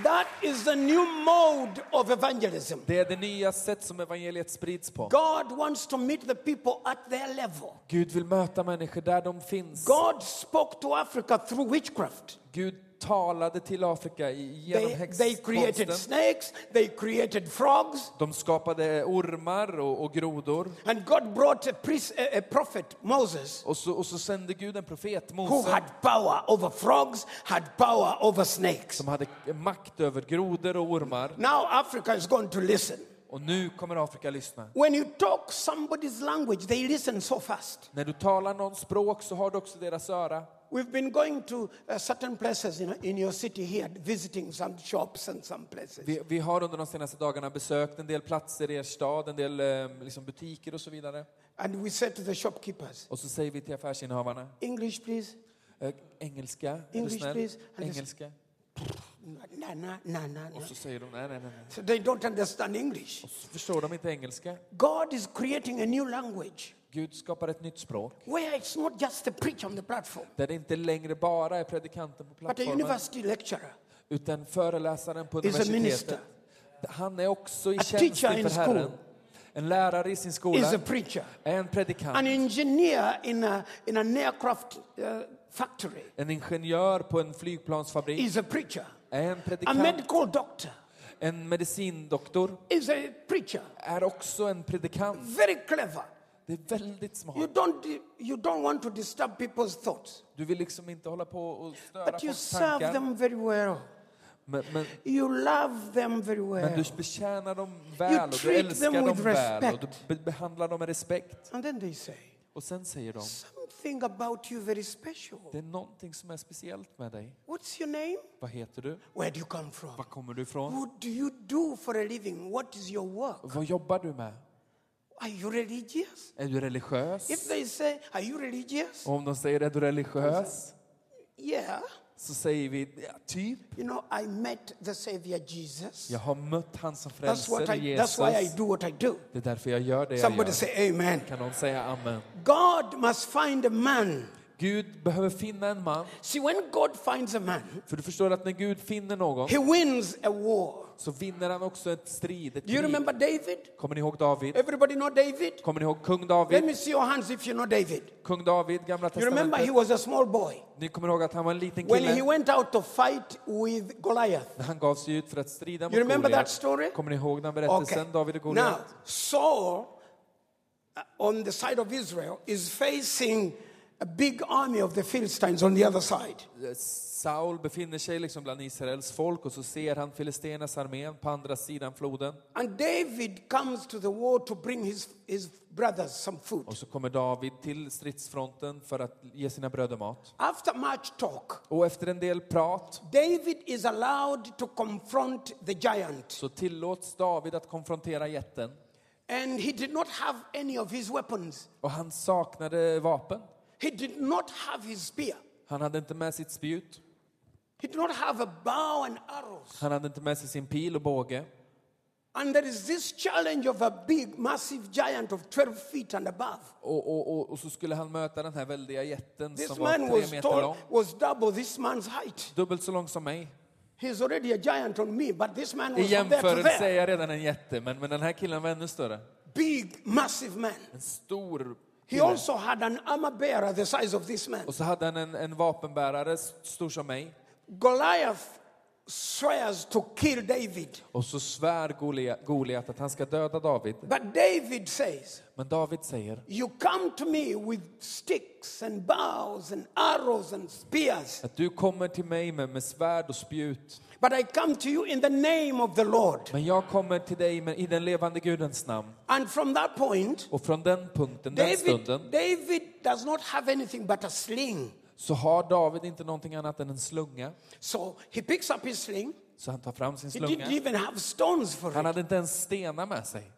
That is the new mode of evangelism. Det är det nya sätt som evangeliet sprids på. God wants to meet the people at their level. Gud vill möta människor där de finns. God spoke to Africa through witchcraft. Gud talade till Afrika i- genom They, they created häxkonsten. snakes, they created frogs, De skapade ormar och, och grodor. and God brought a, priest, a, a prophet, Moses, Och så, och så sände Gud en profet, who Mose, had power over frogs, had power over snakes. som hade makt över grodor och ormar. Now Africa is going to listen. Och nu kommer Afrika lyssna. When you talk somebody's language, they listen so fast. När du talar någon språk så har du också deras öra. We've been going to uh, certain places in, in your city here, visiting some shops and some places. Vi, vi har under de senaste dagarna besökt en del platser i er stad, en del eh, liksom butiker och så vidare. And we said to the shopkeepers, Och så säger vi till affärsinnehavarna, English, please. eh, engelska, är du English, snäll? please. And this- Engelska. Na, na, na, na, na. Och så säger de, nej, nej, nej. nej. So they don't understand English. Och så förstår de inte engelska. God is creating a new language Gud skapar ett nytt språk where it's not just the preacher on the platform, där det inte längre bara är predikanten på but a plattformen university lecturer, utan föreläsaren på Is a universitetet. minister. Han är också i A tjänst teacher in inför school. Herren. En lärare i sin is a skola, preacher, en an predikant, engineer in, a, in an aircraft uh, factory en ingenjör på en flygplansfabrik, is a preacher, en a predikant, medical doctor en medicindoktor is a preacher. är också en predikant. Very clever. Det är väldigt smart. You don't, you don't want to disturb people's thoughts, Du vill liksom inte hålla på och störa but you folks serve tankar. them very well. Men, men, You love them very men well. du betjänar dem väl och du treat älskar them dem with väl och du respect. be- behandlar dem med respekt. And then they say, Och sen säger de, Something about you very special. det är någonting som är speciellt med dig. What's your name? Vad heter du? Where do you come from? Var kommer du ifrån? What do you do for a living? What is your work? Vad jobbar du med? Are you religious? Är du religiös? If they say, Are you religious? Och om de säger, är du religiös? Yeah. Så säger vi, ja, typ. You know, I met the Savior Jesus. Jag har mött han som That's, what frälser, I, that's why I Jesus. do what I do. Det är därför jag gör det jag Somebody gör. say, Amen. Kan någon säga amen? God must find a man. Gud behöver finna en man. See, when God finds a man, För du förstår att när Gud finner någon he wins a war. så vinner han också ett strid, ett Do you krig. remember David? Kommer ni ihåg David? Everybody know David? Kommer ni ihåg kung Let David? me see your hands if you know David. Kung David, gamla You remember he testamentet. was a small boy. Ni kommer ihåg att han var en liten When he kille. went out to fight with Goliath, När han gav sig ut för att strida You mot remember that Goliat. story? Kommer ni ihåg den berättelsen, David och Goliat? Now, Saul uh, on the side of Israel is facing a big army of the Philistines on the other side. Eh, Saul befinner sig liksom bland Israels folk och så ser han Filisternas armén på andra sidan floden. And David comes to the war to bring his, his brothers some food. Och så kommer David till stridsfronten för att ge sina bröder mat. After much talk, Och efter en del prat David is allowed to confront the giant. så tillåts David att konfrontera jätten. And he did not have any of his weapons, Och han saknade vapen. he did not have his spear, Han hade inte med sitt spjut. he did not have a bow and arrows. Han hade inte med sig sin pil och båge. And there is this challenge of a big, massive giant of 12 feet and above. Och, och, och, och så skulle han möta den här väldiga jätten This som var man tre was meter lång. tall, was double this man's height. Dubbelt så lång som mig. He's already a giant on me, but this man I was from there to jämförelse är there. jag redan en jätte, men, men den här killen var ännu större. Big, massive man. En stor He kille. also had an armor bearer the size of this man. Och så hade han en, en vapenbärare s- stor som mig. Goliath swears to kill David, Och så svär Golia- Goliat att han ska döda David. but David says, Men David säger, You come to me with sticks and bows and arrows and spears, att du kommer till mig med, med svärd och spjut. but I come to you in the name of the Lord. Men jag kommer till dig med, i den levande Gudens namn. And from that point, Och från den punkten, den David, stunden, David does not have anything but a sling. så har David inte någonting annat än en slunga. So he picks up his sling. Så han tar fram sin He didn't slunga. even have stones for Han it. hade inte ens stenar med sig.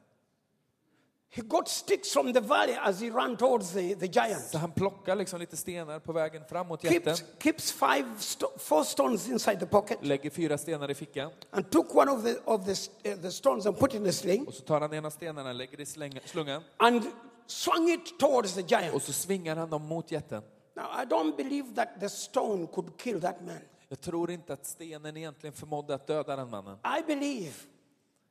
He got sticks from the valley as he ran towards the, the giant. Så han plockar liksom lite stenar på vägen fram mot jätten. Keeps, keeps five sto- four stones inside the pocket Lägger fyra stenar i fickan. and took one of the, of the, s- uh, the stones and put it in the sling Och så tar han ena stenarna, lägger det i slänga- slungan. and swung it towards the Och giant. så svingar han dem mot jätten. Now, I don't believe that the stone could kill that man. Jag tror inte att stenen egentligen förmådde att döda den mannen. I believe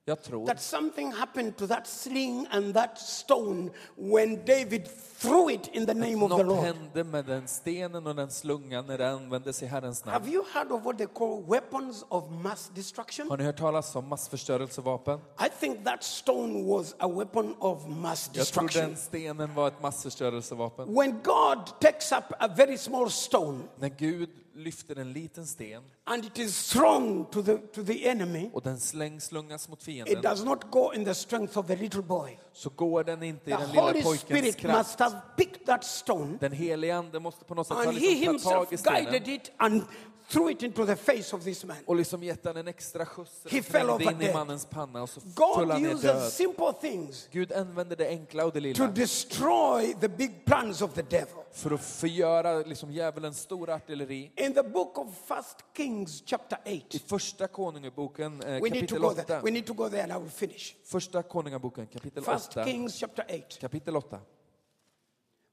Jag tror that something happened to that sling and that stone when David threw it in the name of the något Lord. hände med den stenen och den slungan när den användes i Herrens namn. Have you heard of what they call weapons of mass destruction? Har ni hört talas om massförstörelsevapen? I think that stone was a weapon of mass Jag tror destruction. den stenen var ett massförstörelsevapen. When God takes up a very small stone När Gud lyfter en liten sten and it is thrown to the, to the enemy, och den släng, slungas mot it fienden does not go in the strength of the little boy. så går den inte i The den lilla Holy pojkens Spirit kraft. must have picked that stone Den helige ande måste på något sätt ha and he liksom ta tag himself i stenen guided it and threw it into the face of this man. och liksom gett han en extra skjuts. He och fell knängde over in i dead. mannens panna och så föll God han ner uses död. simple things Gud använder det enkla och det to lilla destroy the big plans of the devil. för att förgöra liksom djävulens stora artilleri. In the book of First Kings, chapter I 8, första konungaboken eh, we need to kapitel go there. 8. We need to go there and I will finish. Första konungaboken kapitel First 8. Kings, chapter 8, Kapitel 8.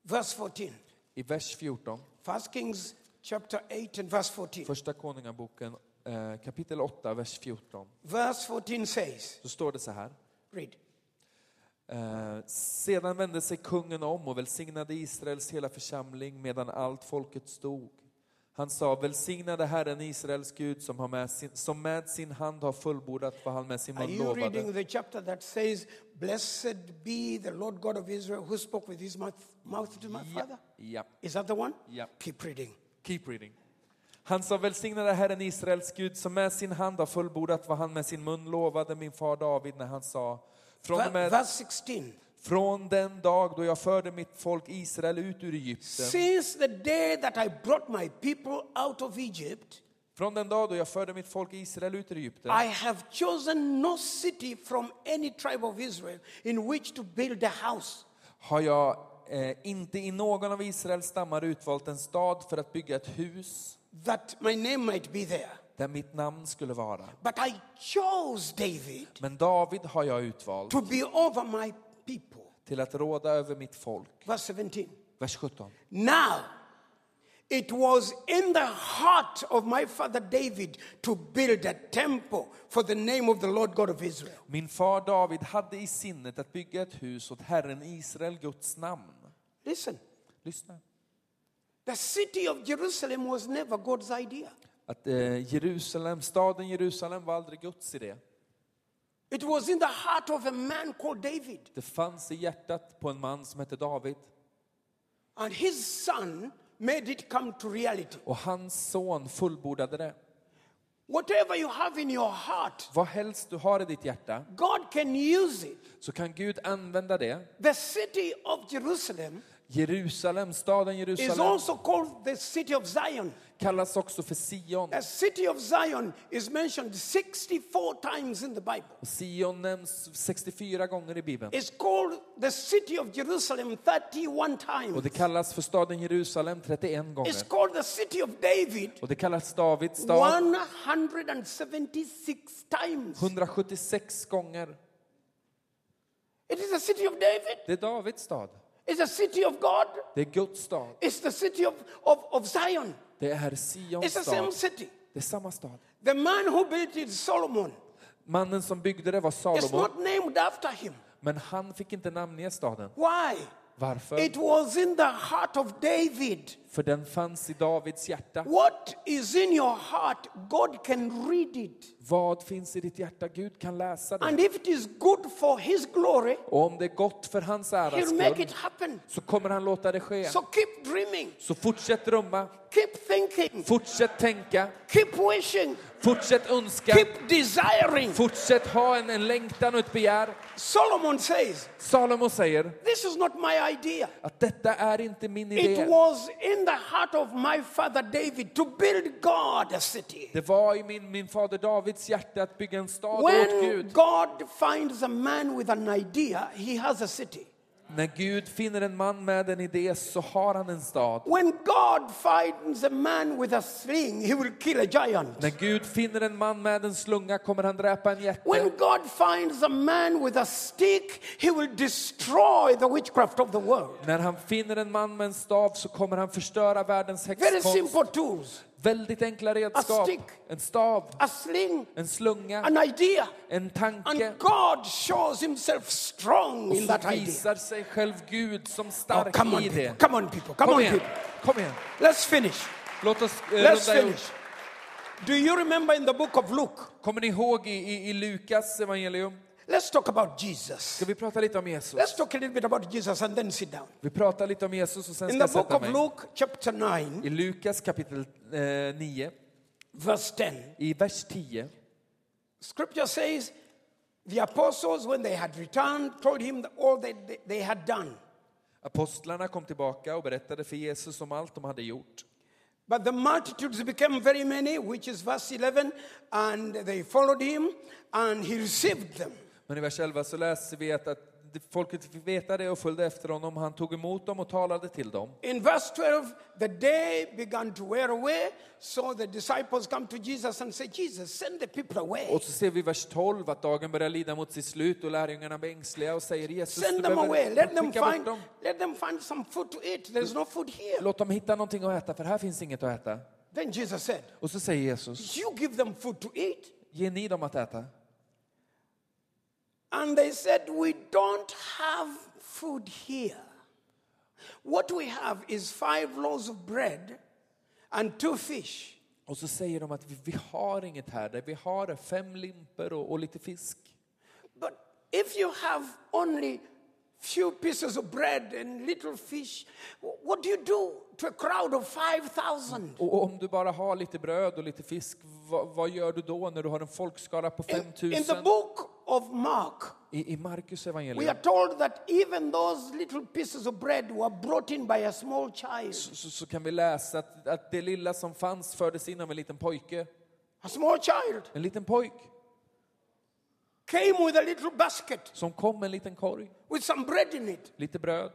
verse 14. I vers 14. First Kings, chapter 8, and verse 14. Första konungaboken eh, kapitel 8 vers 14. Verse 14 says, Så står det så här. read. Eh, sedan vände sig kungen om och välsignade Israels hela församling medan allt folket stod. Han sa, välsignade Herren Israels Gud som, har med sin, som med sin hand har fullbordat vad han med sin Are mun you lovade. reading the chapter that says, Blessed be the Lord God of Israel who spoke with his mouth, mouth to my father? Ja. Is that the one? Yeah. Keep reading. Keep reading. Han sa, välsignade Herren Israels Gud som med sin hand har fullbordat vad han med sin mun lovade min far David när han sa, från och Ver- med Verse 16. Från den dag då jag förde mitt folk Israel ut ur Egypten, Since the day that I brought my people out of Egypt, från den dag då jag förde mitt folk Israel ut ur Egypten, I have chosen no city from any tribe of Israel in which to build a house. har jag eh, inte i någon av Israels stammar utvalt en stad för att bygga ett hus that my name might be there. där mitt namn skulle vara. But I chose David Men David har jag utvalt to be over my people. till att råda över mitt folk. Verse 17. Vers 17. Now, it was in the heart of my father David to build a temple for the name of the Lord God of Israel. Min far David hade i sinnet att bygga ett hus åt Herren Israel, Guds namn. Listen, Lyssna. the city of Jerusalem was never God's idea. Att eh, Jerusalem, staden Jerusalem var aldrig Guds idé. It was in the heart of a man called David. Det fanns i hjärtat på en man som hette David And his son made it come to reality. och hans son fullbordade det. Whatever you have in your heart, Vad helst du har i ditt hjärta God can use it. så kan Gud använda det. The city of Jerusalem Jerusalem, staden is Jerusalem also called the city of Zion. kallas också för Sion. The city of Zion is mentioned 64 times in the Bible. Och Sion nämns 64 gånger i Bibeln. It's called the city of Jerusalem 31 Och times. det kallas för staden Jerusalem 31 It's gånger. called the city of David Och det kallas Davids stad 176 times. 176 gånger. It is the city of David. Det är Davids stad. It's the city of God. Det är Guds stad. It's the city of, of, of Zion. Det är Sions It's the same stad. city. Det är samma stad. The man who built it is Solomon. Mannen som byggde det var It's Salomo. not named after him. Men han fick inte namnge staden. Why? Varför? It was in the heart of David. För den fanns i Davids hjärta. What is in your heart, God can read it. Vad finns i ditt hjärta? Gud kan läsa And det. if it is good for His glory, Och om det är gott för hans äras He'll make skull it happen. så kommer han låta det ske. So keep dreaming, Så fortsätt drömma, keep thinking, fortsätt tänka, keep wishing, fortsätt önska, keep desiring. fortsätt ha en, en längtan och ett begär. Solomon says, Salomo säger This is not my idea. att detta är inte min It idé. was in the heart of my father David to build God a city. Det var i min, min fader Davids hjärta att bygga en stad åt When Gud. God finds a man with an idea, he has a city. När Gud finner en man med en idé så har han en stad. When God finds a man with a sling, he will kill a giant. När Gud finner en man med en slunga kommer han dräpa en jätte. When God finds a man with a stick, he will destroy the witchcraft of the world. När han finner en man med en stav så kommer han förstöra världens Very häxkonst. simple tools Väldigt enkla redskap. stick. En stav, a sling, en slunga, an idea. en tanke. And God shows himself strong Och in that så idea. visar sig själv Gud som Oh, stark come on, i people. det. Come on, people. Come Kom on, igen, people. kom igen. Let's finish. Låt oss Oh, eh, Let's runda ihop. finish. Do you remember in the book of Luke? Kommer ni ihåg i, i, i Lukas evangelium? Let's talk about Jesus. Ska vi prata lite om Jesus? Let's talk a little bit about Jesus and then sit down. Vi pratar lite om Jesus och sen In ska the jag book sätta of mig. Luke, chapter 9, I Lukas kapitel eh, 9, verse 10, i vers 10, scripture says, The apostles, when they had returned, told him that all that they- they had done. apostlarna kom tillbaka och berättade för Jesus om allt de hade gjort. But the multitudes became very many, which is verse 11, and they followed him, and he received them. Men i vers 11 så läser vi att, att folket fick veta det och följde efter honom. Han tog emot dem och talade till dem. In verse 12, the day began to wear away, so the disciples come to Jesus and say, Jesus, send the people away. Och så ser vi i vers 12 att dagen börjar lida mot sitt slut och lärjungarna blir ängsliga och säger Jesus, du Send them behöver away. Let them skicka bort find dem. let them find some food to eat. There's no food here. Låt dem hitta någonting att äta, för här finns inget att äta. Then Jesus said, Och så säger Jesus, You give them food to eat. ge ni dem att äta. And they said, We don't have food here. What we have is five loaves of bread and two fish. Och så säger de att vi, vi har inget här, där vi har fem limper och, och lite fisk. But if you have only few pieces of bread and little fish, wh- what do you do to a crowd of 5,000? Och om du bara har lite bröd och lite fisk, vad, vad gör du då när du har en folkskara på In, 5 in the 000? book of Mark, I, i Markus we are evangelium told that even those little pieces of bread were brought in by a small child. så, så kan vi läsa att, att det lilla som fanns fördes in av en liten pojke. A small child En liten pojk came with a little basket som kom med en liten korg, with some bread in it lite bröd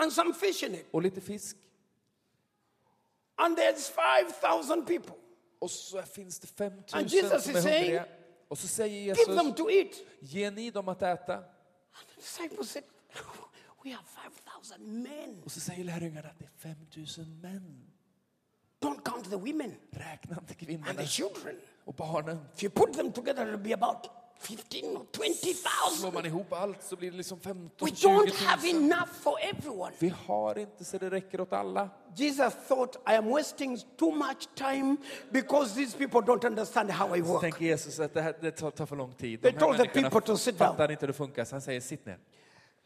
and some fish in it. och lite fisk. And there's 5,000 people. Och så finns det 5 000 And Jesus som is är saying, hungriga. Och så säger Give them Jesus, to eat. ge ni dem att äta. And the disciples said, [LAUGHS] We have 5,000 men. Och så säger lärjungarna att det är 5 000 män. Don't count the women Räkna inte and the kvinnorna children. och barnen. If you put them together, it'll be about 15 or Slår 20,000. man ihop allt så blir det liksom 15 We 20 000. don't have enough for everyone. Vi har inte så det räcker åt alla. Jesus thought, I am wasting too much time because these people don't understand how I Så work. tänker Jesus att det, här, det tar, tar för lång tid. They told the people to sit down. fattar inte hur det funkar, så han säger sitt ner.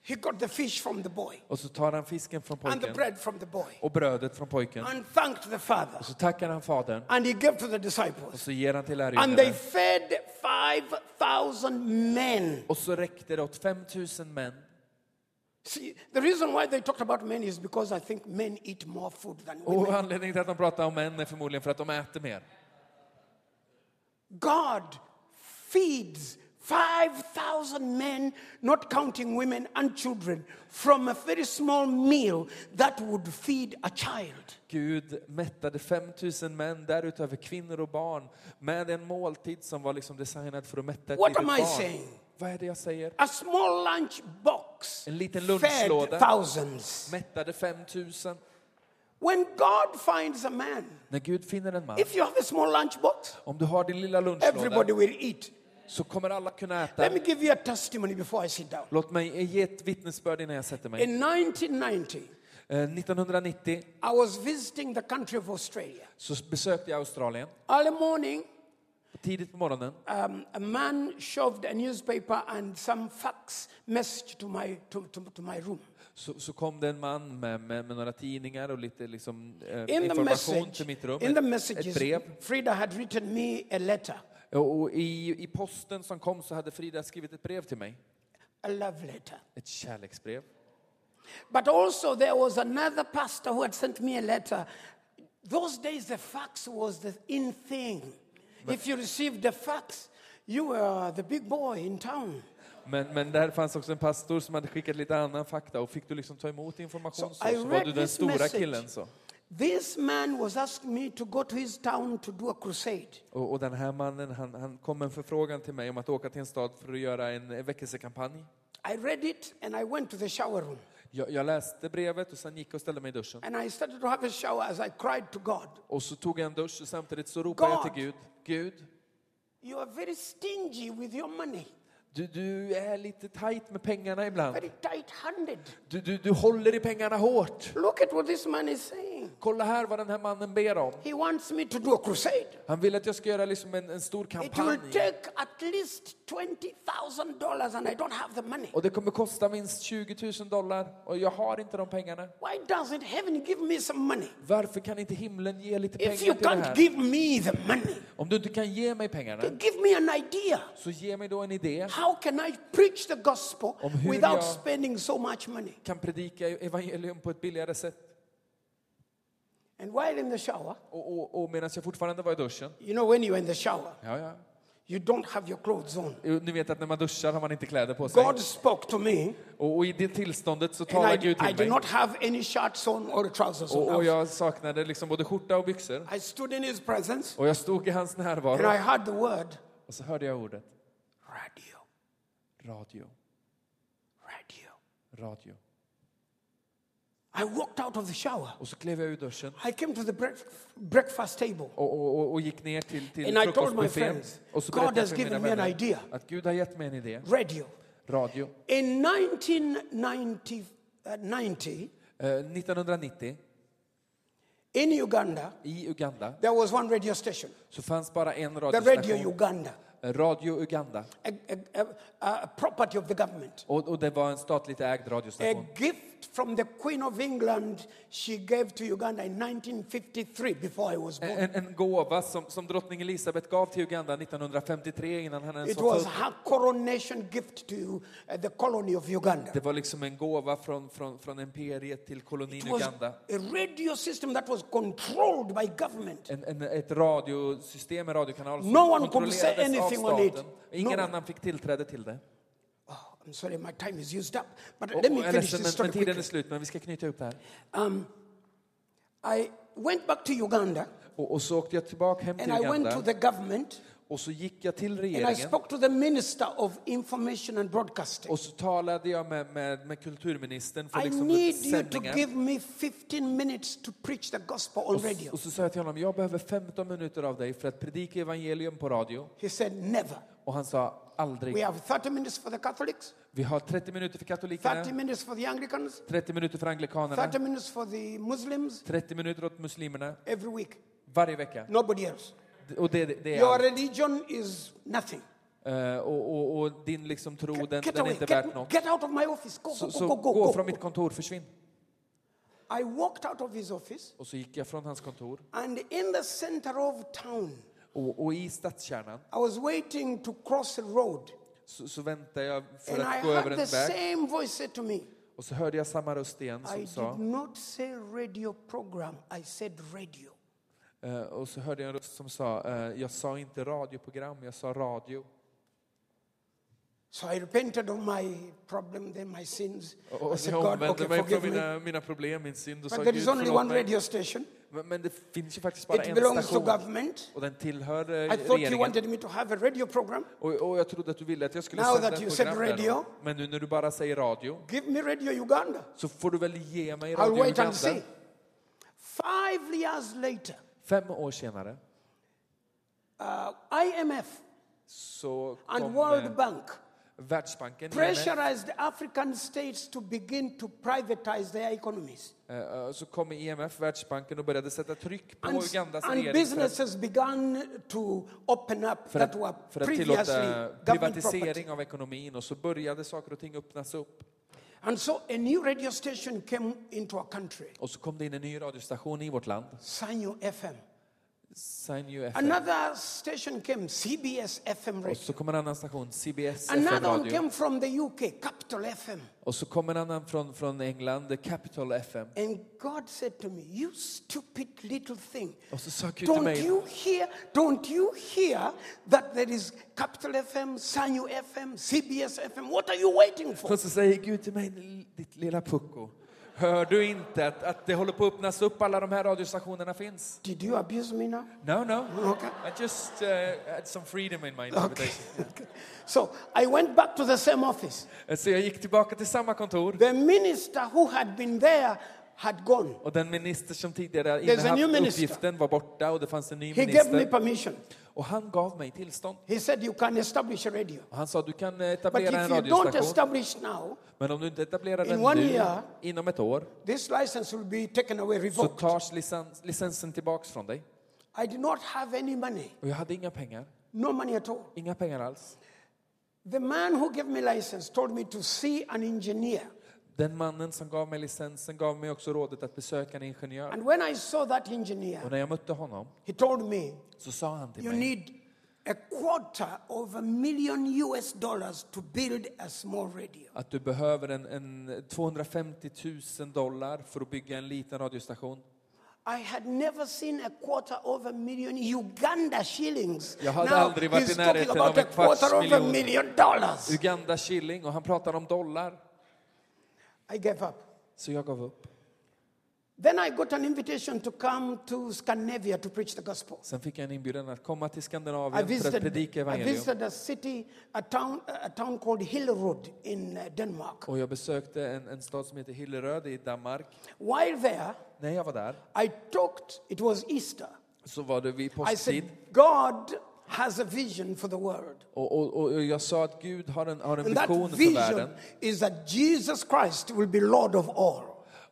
He got the fish from the boy Och så tar han fisken från and the pojken bread from the boy och brödet från pojken. and thanked the father. Så tackar han fadern And he gave to the och disciples. så ger han till And they lärjungarna. fed 5,000 men. Och så räckte det åt 5000 män. See, the reason why they talked about men is because I think men eat more food than women. Och anledningen till att de pratar om män är förmodligen för att de äter mer. God feeds 5,000 men, not counting women and children, from a very small meal that would feed a child. Gud mättade 5000 män, därutöver kvinnor och barn, med en måltid som var liksom designad för att mätta ett What litet am I barn. saying? Vad är det jag säger? A small lunch box En liten fed lunchlåda. thousands. Mättade 5000. When God finds a man, När Gud finner en man, if you have a small lunch box, om du har din lilla lunchlåda, everybody will eat. så kommer alla kunna äta. Let me give you a testimony before I sit down. Låt mig ge ett vittnesbörd innan jag sätter mig. In 1990, Eh, 1990 I was visiting the country of Australia. så besökte jag Australien. Early morning, Tidigt på morgonen um, a man shoved a newspaper and some fax message to my, to, to, to my room. så, så kom det en man med, med, med några tidningar och lite liksom, eh, In the information message, till mitt rum. in the ett, ett messages, brev. Frida had written me a letter, Och och i, I posten som kom så hade Frida skrivit ett brev till mig. a love letter. Ett kärleksbrev. But also, there was another pastor who had sent me a letter. Those days, the fax was the in thing. If you received a fax, you were the big boy in town. Men, men där fanns också en pastor som hade skickat lite annan fakta och fick du liksom ta emot information So så, I så var read du den this stora message. killen. Så. This man was asking me to go to his town to do a crusade. Och, och den här mannen han, han kom med en förfrågan till mig om att åka till en stad för att göra en väckelsekampanj. I read it and I went to the shower room. Jag, jag läste brevet och sen gick jag och ställde mig i duschen. And I started to have a shower as I cried to God, Och så tog jag en dusch och samtidigt så ropade jag God. till Gud. Gud, You are very stingy with your money. Du, du är lite tight med pengarna ibland. very tight handed. Du, du, du håller i pengarna hårt. Look at what this man is saying. Kolla här vad den här mannen ber om. He wants me to do a crusade. Han vill att jag ska göra liksom en, en stor It will kampanj. take at least $20,000 and I don't have the money. Och det kommer kosta minst 20 000 dollar och jag har inte de pengarna. Why doesn't heaven give me some money? Varför kan inte himlen ge lite pengar If you till det can't här? give me the money, Om du inte kan ge mig pengarna, give me an idea. så ge mig då en idé. How can I preach the gospel Om hur without jag- spending so much money? Kan predika evangelium på ett billigare sätt. And while in the shower, Och, och, och medan jag fortfarande var i duschen. you know, when you're in the shower, Ja, ja. you don't have your clothes on. Jo, Ni vet att när man duschar har man inte kläder på sig. God spoke to me, Och, och i det tillståndet så and talar I, Gud I till did mig. not have any shirts on or trousers Och, och on. jag saknade liksom både skjorta och byxor. I stood in His presence, Och jag stod i hans and I närvaro. heard the word Och så hörde jag ordet radio, radio, radio. radio. I walked out of the shower. Och så klev jag ur duschen I came to the break, breakfast table. och, och, och, och gick ner till, till And I told my frukostbuffén. friends, Och så God berättade has jag för mina given me an vänner idea. att Gud har gett mig en idé. Radio. Radio. In 1990, uh, 90, Eh, 1990 in Uganda, i Uganda there was one radio station, så fanns bara en the Radio radiostation, Uganda, Radio Uganda. a, a- a- a property of the government. Och, och det var en statligt ägd A radiostation. gift from the Queen of England she gave to Uganda in 1953, before I was born. En, en gåva som, som drottning Elisabeth gav till Uganda 1953 innan han ens It var was född. her coronation gift to uh, the colony of Uganda. Det var liksom en gåva från, från, från imperiet till kolonin It was Uganda. a radio system that was controlled by government. En, en, ett radiosystem, en radiokanal som No one could say kontrollerades av anything on it. staten. Ingen No. annan fick tillträde till det. Oh, I'm sorry, my time is used up, but Och, och let me jag är finish ledsen, this men, story men tiden är quickly. slut, men vi ska knyta upp det här. I went back to Uganda Och, och så åkte jag tillbaka hem till and I went to Uganda the government och så gick jag till and I regeringen spoke to the Minister of Information and Broadcasting. och så talade jag med, med, med kulturministern för I liksom need you to sändningar. give me 15 minutes to preach the gospel on radio. Och så sa jag till honom, jag behöver 15 minuter av dig för att predika evangelium på radio. He said, Never. Och han sa, We aldrig. have 30 minutes for the Catholics, Vi har 30 minuter för 30 katolikerna, minutes for the Anglicans, 30 minuter för anglikanerna, 30 minutes for the Muslims 30 minuter åt muslimerna, every week. varje vecka. Nobody else. Och det, det är Your allt. religion is nothing. Eh, och, och, och din liksom tro, den, Get den är away. inte värt Get, något. get out of my office. Go, Så, go, så go, go, gå go, från go. mitt kontor, försvinn. I walked out of his office Och så gick jag från hans kontor And in the center of town, och, och i stadskärnan I was waiting to cross a road. så, så väntade jag för And I att gå över heard the en väg. same voice say to me, Och så hörde jag samma röst igen som I sa, did not say radio program, I said radio. eh, och så hörde jag en röst som sa, eh, jag sa inte radioprogram, jag sa radio. So I repented of my problem, then my sins. Och, I och said, jag God, omvände okay, mig forgive från me. mina, mina problem, min synd och sa, But there Gud is only förlåt one mig. radio station. Men, men det finns ju faktiskt bara It en belongs to station government. och den tillhör eh, I thought you regeringen. wanted me to have a radio program. Och, och jag trodde att du ville att jag skulle Now sända that you ett said program där. radio. Men nu när du bara säger radio Give me Radio Uganda. så får du väl ge mig I'll Radio wait Uganda. and see. Five years later, Fem år senare uh, IMF så and kom eh, World Bank Världsbanken IMF, pressurized African states to begin to privatize their economies. eh, eh, så kom IMF, Världsbanken och började sätta tryck på And, Ugandas and regering för att, businesses began to open up för that were att, för att previously tillåta government property. privatisering av ekonomin och så började saker och ting öppnas upp. And so a new radio station came into our country, Och så kom det in en ny radiostation i vårt land, Sanyo FM. Sign UFM. Another station came, CBS FM Och radio. så kom en annan station, CBS Another one FM-radio. came from the UK, Capital FM. Och så kom en annan från, från England, The Capital FM. And God said to me, You stupid little thing. Och så sa Gud till Don't mig, you hear? Don't you hear that there is Capital FM, Sanyu FM, CBS FM? What are you waiting for? och så säger Gud till mig, ditt lilla pucko. Hör du inte att, att det håller på att öppnas upp, alla de här radiostationerna finns? Did you abuse me now? No, no. Okay. I just uh, had some freedom in my Okay. interpretation. [LAUGHS] okay. So I went back to the same office. Så jag gick tillbaka till samma kontor The minister who had been there had gone. och den minister som tidigare a new innehaft minister. uppgiften var borta och det fanns en ny He gave me minister. permission. Och han gav mig tillstånd. He said, You can establish a radio. Och han sa du kan eh, But etablera en if you don't radiostation. establish now, Men om du inte etablerar In den one nu, year- inom ett år, this license will be taken away, så revoked. tas licens, licensen tillbaks från dig. I did not have any money, Och jag hade inga pengar. no money at all. Inga pengar alls. The man who gave me license told me to see an engineer. Den mannen som gav mig licensen gav mig också rådet att besöka en ingenjör. And when I saw that engineer, Och när jag mötte honom he told me, så sa han till You mig, need a quarter of a million US dollars to build a small radio. att du behöver en, en 250 000 dollar för att bygga en liten radiostation. I had never seen a quarter of a million Uganda shillings. Jag hade now aldrig varit he's i närheten talking av about a en kvarts quarter of a miljon. million dollars. Uganda shilling och han pratar om dollar. I gave up. Så jag gav upp. Then I got an invitation to come to Scandinavia to preach the gospel. Sen fick jag en inbjudan att komma till I Skandinavien för att visited, predika I evangelium. visited a city, a town, a town called Hillerud in uh, Denmark. Och jag besökte en, en stad som heter Hilleröd i Danmark. While there, När jag var där I talked, it was Easter. så var det vid I påsktid. said, God has a vision for the world. Och, och, och jag sa att Gud har en, har en And that vision för vision världen. is that Jesus Christ will be Lord of all.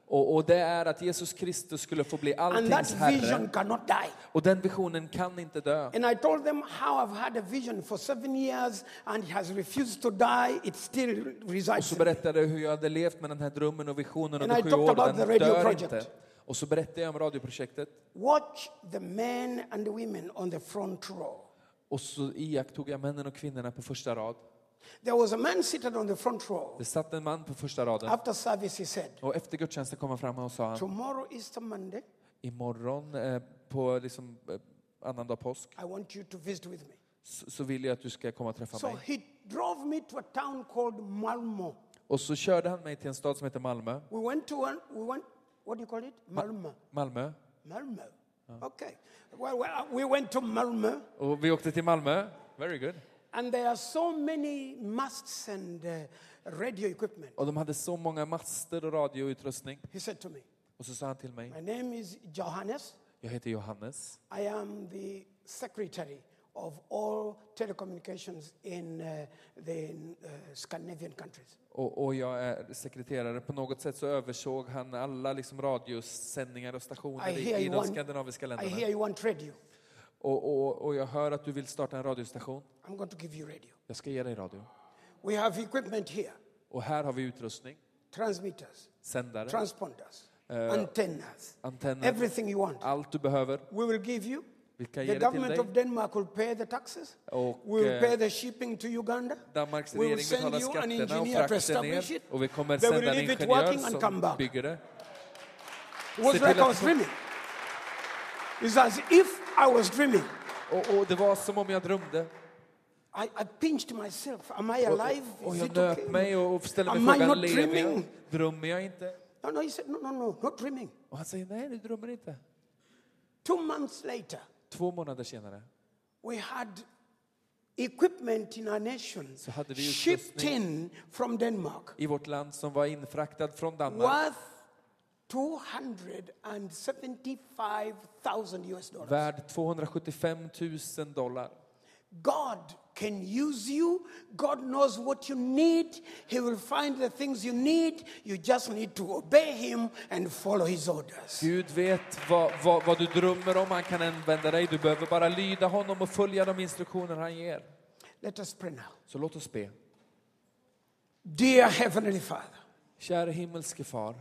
Och, och det är att Jesus Kristus skulle få bli And that alltings vision herre. cannot die. Och den visionen kan inte dö. And I told them how I've had a vision for seven years and it has refused to die. It still Och resides. så in me. berättade jag hur jag hade levt med den här drömmen och visionen under I sju talked år. about Den the radio dör project. inte. Och så berättade jag om radioprojektet. Watch the men and the women on the front row. Och så iakttog jag männen och kvinnorna på första rad. There was a man seated on the front row. Det satt en man på första raden. After service, he said, Och efter gudstjänsten kom han fram och sa han, Tomorrow, Easter Monday, imorgon eh, på liksom, eh, annandag påsk I want you to visit with me. så, så vill jag att du ska komma och träffa So mig. he drove me to a town called Malmo. Och så körde han mig till en stad som heter Malmö. We went to one, we went, what do you call it? Malmo. Malmö. Malmo. Okay. Well, well, we went to Malmo, Och vi åkte till Malmö. Very good. and there are so many masts and uh, radio equipment. Och de hade så många master och radioutrustning. He said to me, Och så sa han till mig, My name is Johannes. jag heter Johannes. I am the secretary of all telecommunications in uh, the uh, Scandinavian countries. Och, och jag är sekreterare. På något sätt så översåg han alla liksom radiosändningar och stationer I i, hear i you de want, skandinaviska I länderna. hear you want radio. Och, och, och jag hör att du vill starta en radiostation. I'm going to give you radio. Jag ska ge dig radio. We have equipment here, Och här har vi utrustning, transmitters, sändare, transponders, Uh, antennas, antenner. everything you want. allt du behöver. We will give you. Vi kan ge The det till government dig. of Denmark will pay the taxes. Och, we will eh, pay the shipping to Uganda. Danmarks we will regering send betalar you an skatterna och engineer to frakten establish ner. it. Och vi kommer They will sända en leave it working ingenjör and come som back. bygger det. It was Se till like I att- was dreaming. It's as if I was dreaming. Och, och det var som om jag drömde. I, I pinched myself. Am I Oh, alive? Och Is jag it okay? nöp mig och och ställde mig Am I frågan, not lever jag? dreaming? Drömmer jag inte? No, no, he said, no, no, no, not dreaming. Och han säger, nej du drömmer inte. Two months later, Två månader senare we had equipment in our nation Så hade vi shipped utrustning. in from Denmark i vårt land som var infraktad från Danmark, worth 275,000 US dollars. värd 275 000 dollar. God can use you. God knows what you need. He will find the things you need. You just need to obey Him and follow His orders. Gud vet vad, vad, vad du drömmer om, han kan använda dig. Du behöver bara lyda honom och följa de instruktioner han ger. Let us pray now. Så låt oss be. Dear Heavenly Father, Kära himmelske far,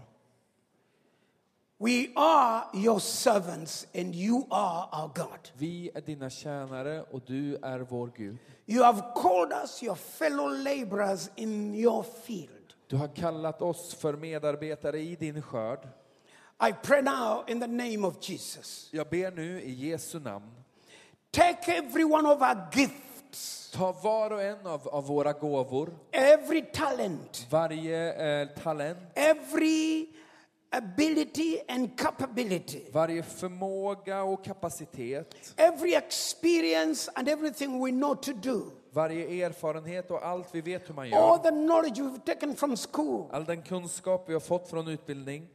we are your servants and you are our God. vi är dina tjänare och du är vår Gud. You have called us your fellow laborers in your field. Du har kallat oss för medarbetare i din skörd. I pray now in the name of Jesus. Jag ber nu i Jesu namn. Take every one of our gifts, Ta var och en av, av våra gåvor, every talent, varje eh, talent, every ability and capability, varje förmåga och kapacitet, every experience and everything we know to do, varje erfarenhet och allt vi vet hur man all gör. the knowledge we've taken from school, All den kunskap vi har fått från utbildning,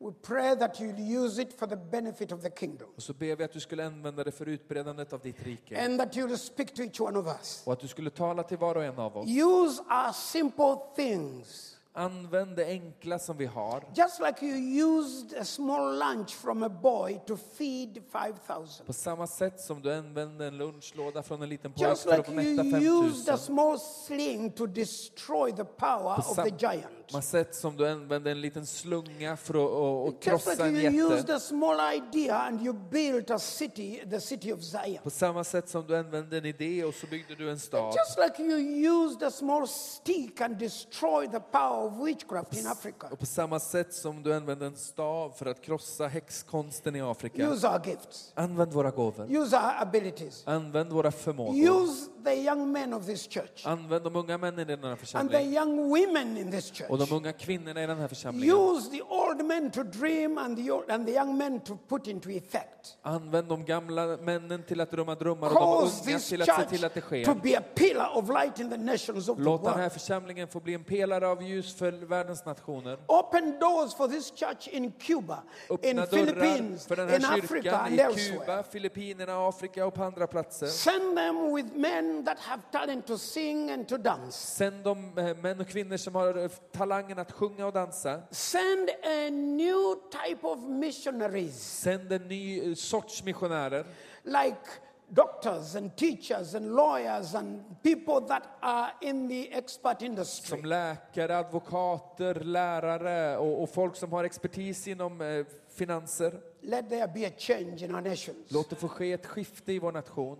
We pray that you'll use it for the benefit of the kingdom Och så ber vi att du skulle använda det för utbredandet av ditt rike. and that you'll speak to each one of us. Och att du skulle tala till var och en av oss. Use our simple things, Använd det enkla som vi har. just like you used a small lunch from a boy to feed 5,000. På samma sätt som du använde en lunchlåda från en liten pojke Just för like att you mätta used a 5000. small sling to destroy the power På of the giant. samma sätt som du använde en liten slunga för att och, och Just like krossa en you used jätte. a small idea and you built a city, the city of Zion. På samma sätt som du använde en idé och så byggde du en stad. Just like you used a small stick and destroyed the power of witchcraft in Africa. Och på samma sätt som du använde en stav för att krossa häxkonsten i Afrika. Use our gifts. Använd våra gåvor. Use our abilities. Använd våra förmågor. Use the young men of this church Använd de unga männen i den här and the församlingen. young women in this church. Och de unga kvinnorna i den här församlingen. Use the old men to dream and the, old, and the young men to put into effect. Använd de gamla männen till att drömma drömmar och Cause de unga this till att se till church att det sker. to be a pillar of light in the nations of the Låt den här world. församlingen få bli en pelare av ljus för världens nationer. Open doors for this church in Cuba, in Öppna dörrar Philippines, för den in här Africa kyrkan and i elsewhere. Kuba, Filippinerna, Afrika och på andra platser. Send them with men that have talent to sing and to dance. Sänd de eh, män och kvinnor som har eh, talangen att sjunga och dansa. Send a new type of missionaries Sänd en ny eh, sorts missionärer. like doctors and teachers and lawyers and people that are in the expert industry. Som läkare, advokater, lärare och, och folk som har expertis inom eh, finanser. Let there be a change in our nations. Låt det få ske ett skifte i vår nation.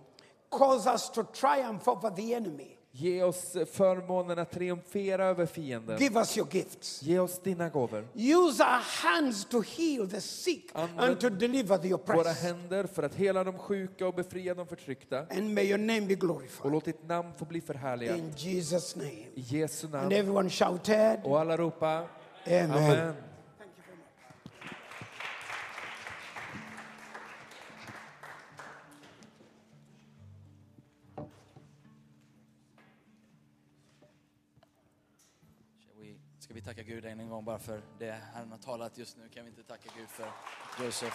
Cause us to triumph over the enemy. Ge oss eh, förmånen att triumfera över fienden. Give us your gifts. Ge oss dina gåvor. Use our hands to heal the sick and Använd to deliver the Våra oppressed. händer för att hela de sjuka och befria de förtryckta. And may your name be Och glorified. låt ditt namn få bli förhärligat. In Jesus' name. I Jesu And namn. everyone shouted. Och alla ropar Amen. Amen. Ska vi, ska vi tacka Gud än en gång bara för det Herren har talat just nu? Kan vi inte tacka Gud för Joseph?